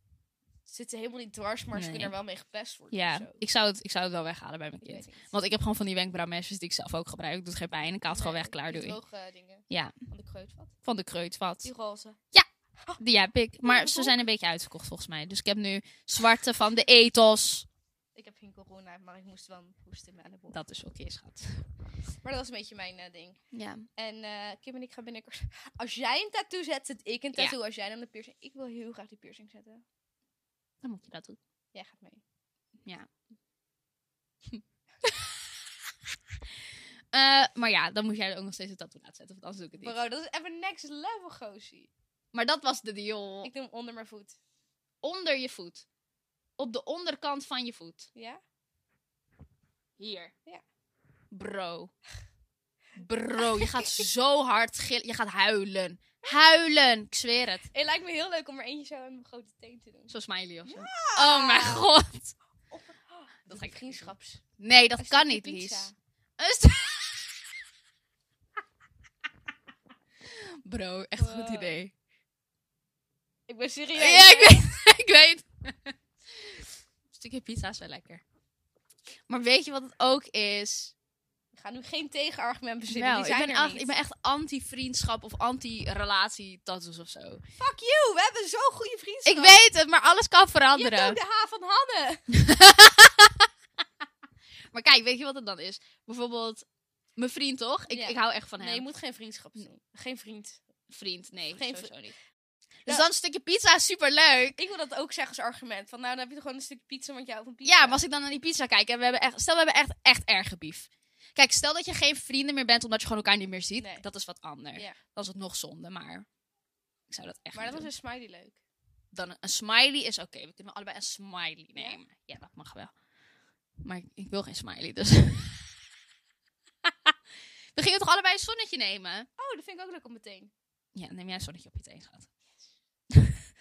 Speaker 1: zit ze helemaal niet dwars, maar ze
Speaker 2: Nee.
Speaker 1: kunnen er wel mee gepest worden of
Speaker 2: ja,
Speaker 1: zo.
Speaker 2: ik zou, het, ik zou het wel weghalen bij mijn
Speaker 1: Ik weet
Speaker 2: kind.
Speaker 1: niet.
Speaker 2: Want ik heb gewoon van die wenkbrauwmesjes die ik zelf ook gebruik. Doet geen pijn. Ik haal het gewoon
Speaker 1: Nee,
Speaker 2: weg, klaar,
Speaker 1: die
Speaker 2: doei.
Speaker 1: Droge dingen.
Speaker 2: Ja.
Speaker 1: Van de kreutvat.
Speaker 2: Van de kreutvat.
Speaker 1: Die roze.
Speaker 2: Die heb ik.
Speaker 1: Ja,
Speaker 2: Maar ze
Speaker 1: waarom?
Speaker 2: zijn een beetje uitverkocht volgens mij. Dus ik heb nu zwarte van de ethos.
Speaker 1: Ik heb geen corona, maar ik moest wel een hoest in mijn elleboog.
Speaker 2: Dat is oké, schat.
Speaker 1: Maar dat was een beetje mijn eh, ding.
Speaker 2: Ja.
Speaker 1: En eh, Kim en ik gaan binnenkort... Als jij een tattoo zet, zet ik een
Speaker 2: Ja.
Speaker 1: tattoo. Als jij dan de piercing... Ik wil heel graag die piercing zetten.
Speaker 2: Dan moet je dat doen.
Speaker 1: Jij gaat mee.
Speaker 2: Eh, maar ja, dan moet jij er ook nog steeds een tattoo laten zetten. Want anders doe ik het niet.
Speaker 1: Bro, dat is even next level, gozie.
Speaker 2: Maar dat was de deal.
Speaker 1: Ik doe hem onder mijn voet.
Speaker 2: Onder je voet. Op de onderkant van je voet.
Speaker 1: Ja?
Speaker 2: Hier.
Speaker 1: Ja.
Speaker 2: Bro. Bro, je gaat zo hard gillen. Je gaat huilen. Huilen. Ik zweer het.
Speaker 1: Het lijkt me heel leuk om er eentje zo aan mijn grote teen te doen.
Speaker 2: Zo smiley of zo. Oh mijn god.
Speaker 1: Of oh, dat
Speaker 2: ga ik
Speaker 1: ik vriendschaps.
Speaker 2: Nee, dat
Speaker 1: Een
Speaker 2: kan
Speaker 1: stukje
Speaker 2: niet,
Speaker 1: pizza.
Speaker 2: Lies. Een stu- Bro, echt een goed
Speaker 1: Wow.
Speaker 2: idee.
Speaker 1: Ik ben serieus.
Speaker 2: Ja, ik weet. ik weet. Een stukje pizza is wel lekker. Maar weet je wat het ook is?
Speaker 1: Ik ga nu geen tegenargument verzinnen.
Speaker 2: Nou,
Speaker 1: die
Speaker 2: ik,
Speaker 1: zijn
Speaker 2: ben
Speaker 1: er
Speaker 2: echt,
Speaker 1: niet.
Speaker 2: ik ben echt anti-vriendschap of anti-relatie tattoos of zo.
Speaker 1: Fuck you, we hebben zo'n goede vriendschap.
Speaker 2: Ik weet het, maar alles kan
Speaker 1: Je hebt ook
Speaker 2: veranderen.
Speaker 1: de H van Hanne.
Speaker 2: Maar kijk, weet je wat het dan is? Bijvoorbeeld, mijn vriend toch? Ik,
Speaker 1: Ja.
Speaker 2: ik hou echt van hem.
Speaker 1: Nee, je moet geen vriendschap doen. Geen vriend.
Speaker 2: Vriend, nee,
Speaker 1: Geen
Speaker 2: sowieso niet. Dus
Speaker 1: Ja.
Speaker 2: dan een stukje pizza is superleuk.
Speaker 1: Ik wil dat ook zeggen als argument. Van nou, dan heb je toch gewoon een stuk pizza, want jij houdt van pizza.
Speaker 2: Ja, maar als ik dan naar die pizza kijk en we hebben echt, stel we hebben echt, echt erg gebief. Kijk, stel dat je geen vrienden meer bent omdat je gewoon elkaar niet meer ziet.
Speaker 1: Nee.
Speaker 2: Dat is wat anders.
Speaker 1: Ja.
Speaker 2: Dan is het nog zonde, maar ik zou dat echt
Speaker 1: Maar
Speaker 2: niet
Speaker 1: dat was
Speaker 2: doen.
Speaker 1: een smiley leuk.
Speaker 2: Dan een, een smiley is oké. We kunnen allebei een smiley nemen. Ja? dat mag wel. Maar ik, ik wil geen smiley, dus... we gingen toch allebei een zonnetje nemen?
Speaker 1: Oh, dat vind ik ook leuk om meteen.
Speaker 2: Ja, neem jij een zonnetje op je teen, schat.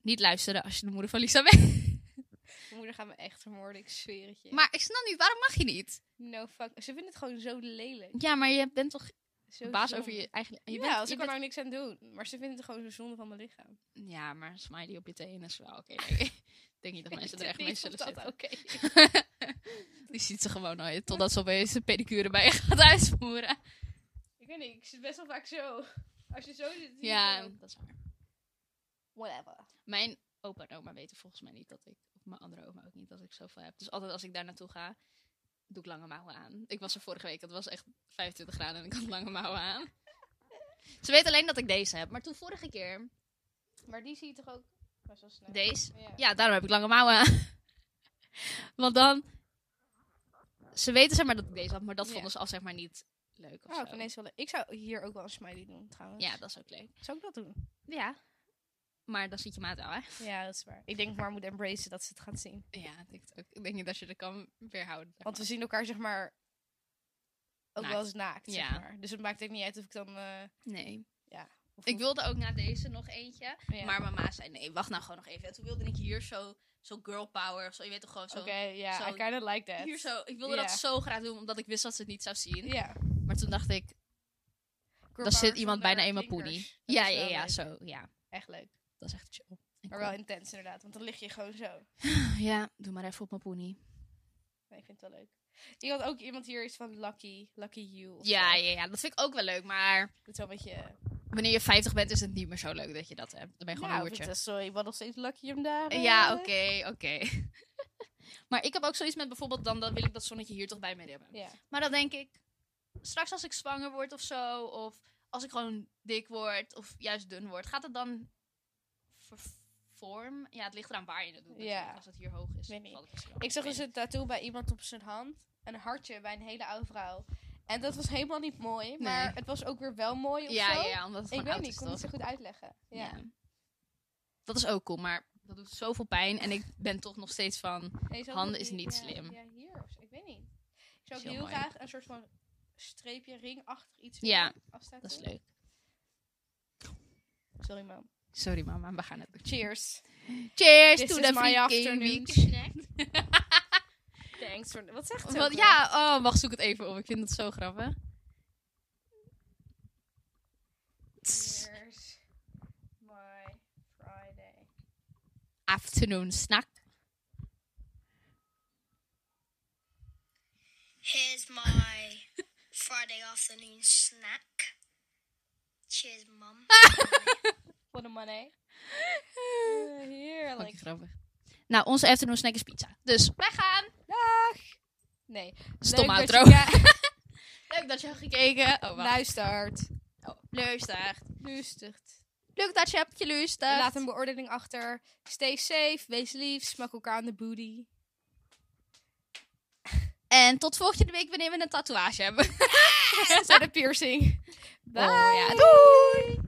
Speaker 2: niet luisteren als je de moeder van Lisa bent.
Speaker 1: Mijn moeder gaat me echt vermoorden, ik zweer het je.
Speaker 2: Maar ik snap niet, waarom mag je niet?
Speaker 1: No fuck. Ze vinden het gewoon zo lelijk.
Speaker 2: Ja, maar je bent toch
Speaker 1: Zo
Speaker 2: baas
Speaker 1: zonde.
Speaker 2: over je eigen... Je
Speaker 1: ja,
Speaker 2: bent,
Speaker 1: als
Speaker 2: je
Speaker 1: ik kan er niks aan doen. Maar ze vinden het gewoon zo'n zonde van mijn lichaam.
Speaker 2: Ja, maar een smiley op je teen is wel oké. denk ik. Ik denk niet dat mensen er echt mee
Speaker 1: mensen
Speaker 2: zullen
Speaker 1: dat
Speaker 2: zitten.
Speaker 1: oké is.
Speaker 2: Die ziet ze gewoon nooit, totdat ze opeens een pedicure bij je gaat uitvoeren.
Speaker 1: Ik weet niet, ik zit best wel vaak zo. Als je zo zit... zie je
Speaker 2: Ja,
Speaker 1: gewoon-
Speaker 2: dat is waar.
Speaker 1: Whatever.
Speaker 2: Mijn opa en oma weten volgens mij niet dat ik, of mijn andere oma ook niet, dat ik zoveel heb. Dus altijd als ik daar naartoe ga, doe ik lange mouwen aan. Ik was er vorige week, het was echt 25 graden en ik had lange mouwen aan. Ze weten alleen dat ik deze heb, maar toen vorige keer,
Speaker 1: Maar die zie je toch ook best wel snel.
Speaker 2: deze,
Speaker 1: Ja.
Speaker 2: Ja, daarom heb ik lange mouwen aan. Want dan... Ze weten zeg maar dat ik deze had, maar dat
Speaker 1: Ja.
Speaker 2: vonden ze al zeg maar niet leuk of
Speaker 1: Oh, ik,
Speaker 2: zo.
Speaker 1: vind deze wel leuk. ik zou hier ook wel een smiley doen, trouwens.
Speaker 2: Ja, dat is ook leuk.
Speaker 1: Zou ik dat doen?
Speaker 2: Ja. Maar dan ziet je maat al, hè?
Speaker 1: Ja, dat is waar. Ik denk maar moet embracen dat ze het gaan zien.
Speaker 2: Ja, ik denk het ook. Ik denk niet dat je er kan weerhouden.
Speaker 1: Want we zien elkaar zeg maar ook
Speaker 2: Naakt.
Speaker 1: wel eens naakt, zeg
Speaker 2: Ja.
Speaker 1: maar. Dus het maakt ook niet uit of ik dan... eh,
Speaker 2: Nee.
Speaker 1: of
Speaker 3: Ik
Speaker 1: hoe-
Speaker 3: wilde ook na deze nog eentje.
Speaker 1: ja.
Speaker 3: Maar mama zei, nee, wacht nou gewoon nog even. En toen wilde ik hier zo, zo girl power, of zo, je weet toch gewoon zo.
Speaker 1: Oké, ja,
Speaker 3: zo-
Speaker 1: I kinda like that.
Speaker 3: Hier zo, ik wilde
Speaker 1: Ja.
Speaker 3: dat zo graag doen, omdat ik wist dat ze het niet zou zien.
Speaker 1: Ja.
Speaker 2: Maar toen dacht ik,
Speaker 1: Girl
Speaker 2: dan zit
Speaker 1: power
Speaker 2: iemand bijna in
Speaker 1: zonder
Speaker 2: mijn poenie.
Speaker 1: klinkers. Dat
Speaker 2: Ja,
Speaker 1: is
Speaker 2: ja,
Speaker 1: wel
Speaker 2: ja,
Speaker 1: leuk.
Speaker 2: zo. Ja,
Speaker 1: Echt leuk.
Speaker 2: dat is echt chill. En
Speaker 1: Maar wel intens inderdaad, want dan lig je gewoon zo.
Speaker 2: cool. Ja, doe maar even op mijn poenie.
Speaker 1: Nee, ik vind het wel leuk. Ik had ook iemand hier iets van Lucky, Lucky You. of
Speaker 2: Ja,
Speaker 1: zo.
Speaker 2: ja, ja, dat vind ik ook wel leuk. Maar
Speaker 1: Dat is wel een beetje...
Speaker 2: wanneer je 50 bent, is het niet meer zo leuk dat je dat hebt. Dan ben je gewoon
Speaker 1: Nou,
Speaker 2: een hoertje.
Speaker 1: dat- sorry, ik was nog steeds Lucky om daar. eh,
Speaker 2: Ja, oké, oké. maar ik heb ook zoiets met bijvoorbeeld, dan, dan wil ik dat zonnetje hier toch bij me hebben.
Speaker 1: Ja.
Speaker 2: Maar dan denk ik, straks als ik zwanger word of zo, of als ik gewoon dik word of juist dun word, gaat het dan vervorm? Ja, het ligt eraan waar je het doet.
Speaker 1: Ja.
Speaker 2: natuurlijk. Als het hier hoog is,
Speaker 1: Weet niet.
Speaker 2: valt het misschien wel.
Speaker 1: Ik zag
Speaker 2: weet
Speaker 1: dus een tattoo bij iemand op zijn hand. Een hartje bij een hele oude vrouw. En dat was helemaal niet mooi. Maar
Speaker 2: Nee.
Speaker 1: het was ook weer wel mooi
Speaker 2: niet.
Speaker 1: of
Speaker 2: ja,
Speaker 1: zo.
Speaker 2: ja, ja, omdat het
Speaker 1: ik
Speaker 2: gewoon
Speaker 1: weet
Speaker 2: oud
Speaker 1: niet, ik
Speaker 2: is,
Speaker 1: kon het
Speaker 2: toch?
Speaker 1: niet zo goed uitleggen. Ja.
Speaker 2: Ja. Dat is ook cool, maar dat doet zoveel pijn en ik ben toch nog steeds van...
Speaker 1: Deze had
Speaker 2: Handen
Speaker 1: nog
Speaker 2: is
Speaker 1: die-
Speaker 2: niet
Speaker 1: ja,
Speaker 2: slim.
Speaker 1: Ja, hier of zo. Ik weet niet. Ik zou
Speaker 2: Is
Speaker 1: ook
Speaker 2: heel
Speaker 1: heel
Speaker 2: mooi.
Speaker 1: graag een soort van streepje ringachtig iets
Speaker 2: Ja,
Speaker 1: willen afstaan.
Speaker 2: Dat is leuk.
Speaker 1: Sorry man.
Speaker 2: Sorry mama, we gaan het doen.
Speaker 1: Cheers.
Speaker 2: Cheers
Speaker 1: This
Speaker 2: to
Speaker 1: is
Speaker 2: the
Speaker 1: my
Speaker 2: free
Speaker 1: afternoon
Speaker 2: gaming
Speaker 1: snack. Thanks voor... Wat zegt ze? ook
Speaker 2: Wat,
Speaker 1: weer?
Speaker 2: ja, oh, wacht, zoek het even op. Ik vind het zo grappig.
Speaker 1: Cheers. My Friday.
Speaker 2: Afternoon snack.
Speaker 4: Here's my Friday afternoon snack. Cheers, Mum.
Speaker 1: What a money.
Speaker 2: Vond ik
Speaker 1: Eh, heerlijk.
Speaker 2: grappig. Nou, onze afternoon snack is pizza. Dus wij gaan.
Speaker 1: Dag. Nee.
Speaker 2: Stom
Speaker 1: Leuk dat
Speaker 2: outro.
Speaker 1: je- ja,
Speaker 2: Leuk dat je hebt gekeken. Oh, wacht.
Speaker 1: luistert.
Speaker 2: Oh, luistert.
Speaker 1: Luistert.
Speaker 2: Leuk dat je hebt geluisterd.
Speaker 1: Laat een beoordeling achter. Stay safe. Wees lief. Smak elkaar aan de booty.
Speaker 2: En tot volgende week wanneer we een tatoeage hebben.
Speaker 1: Zet een piercing. Bye.
Speaker 2: Oh, ja. Doei.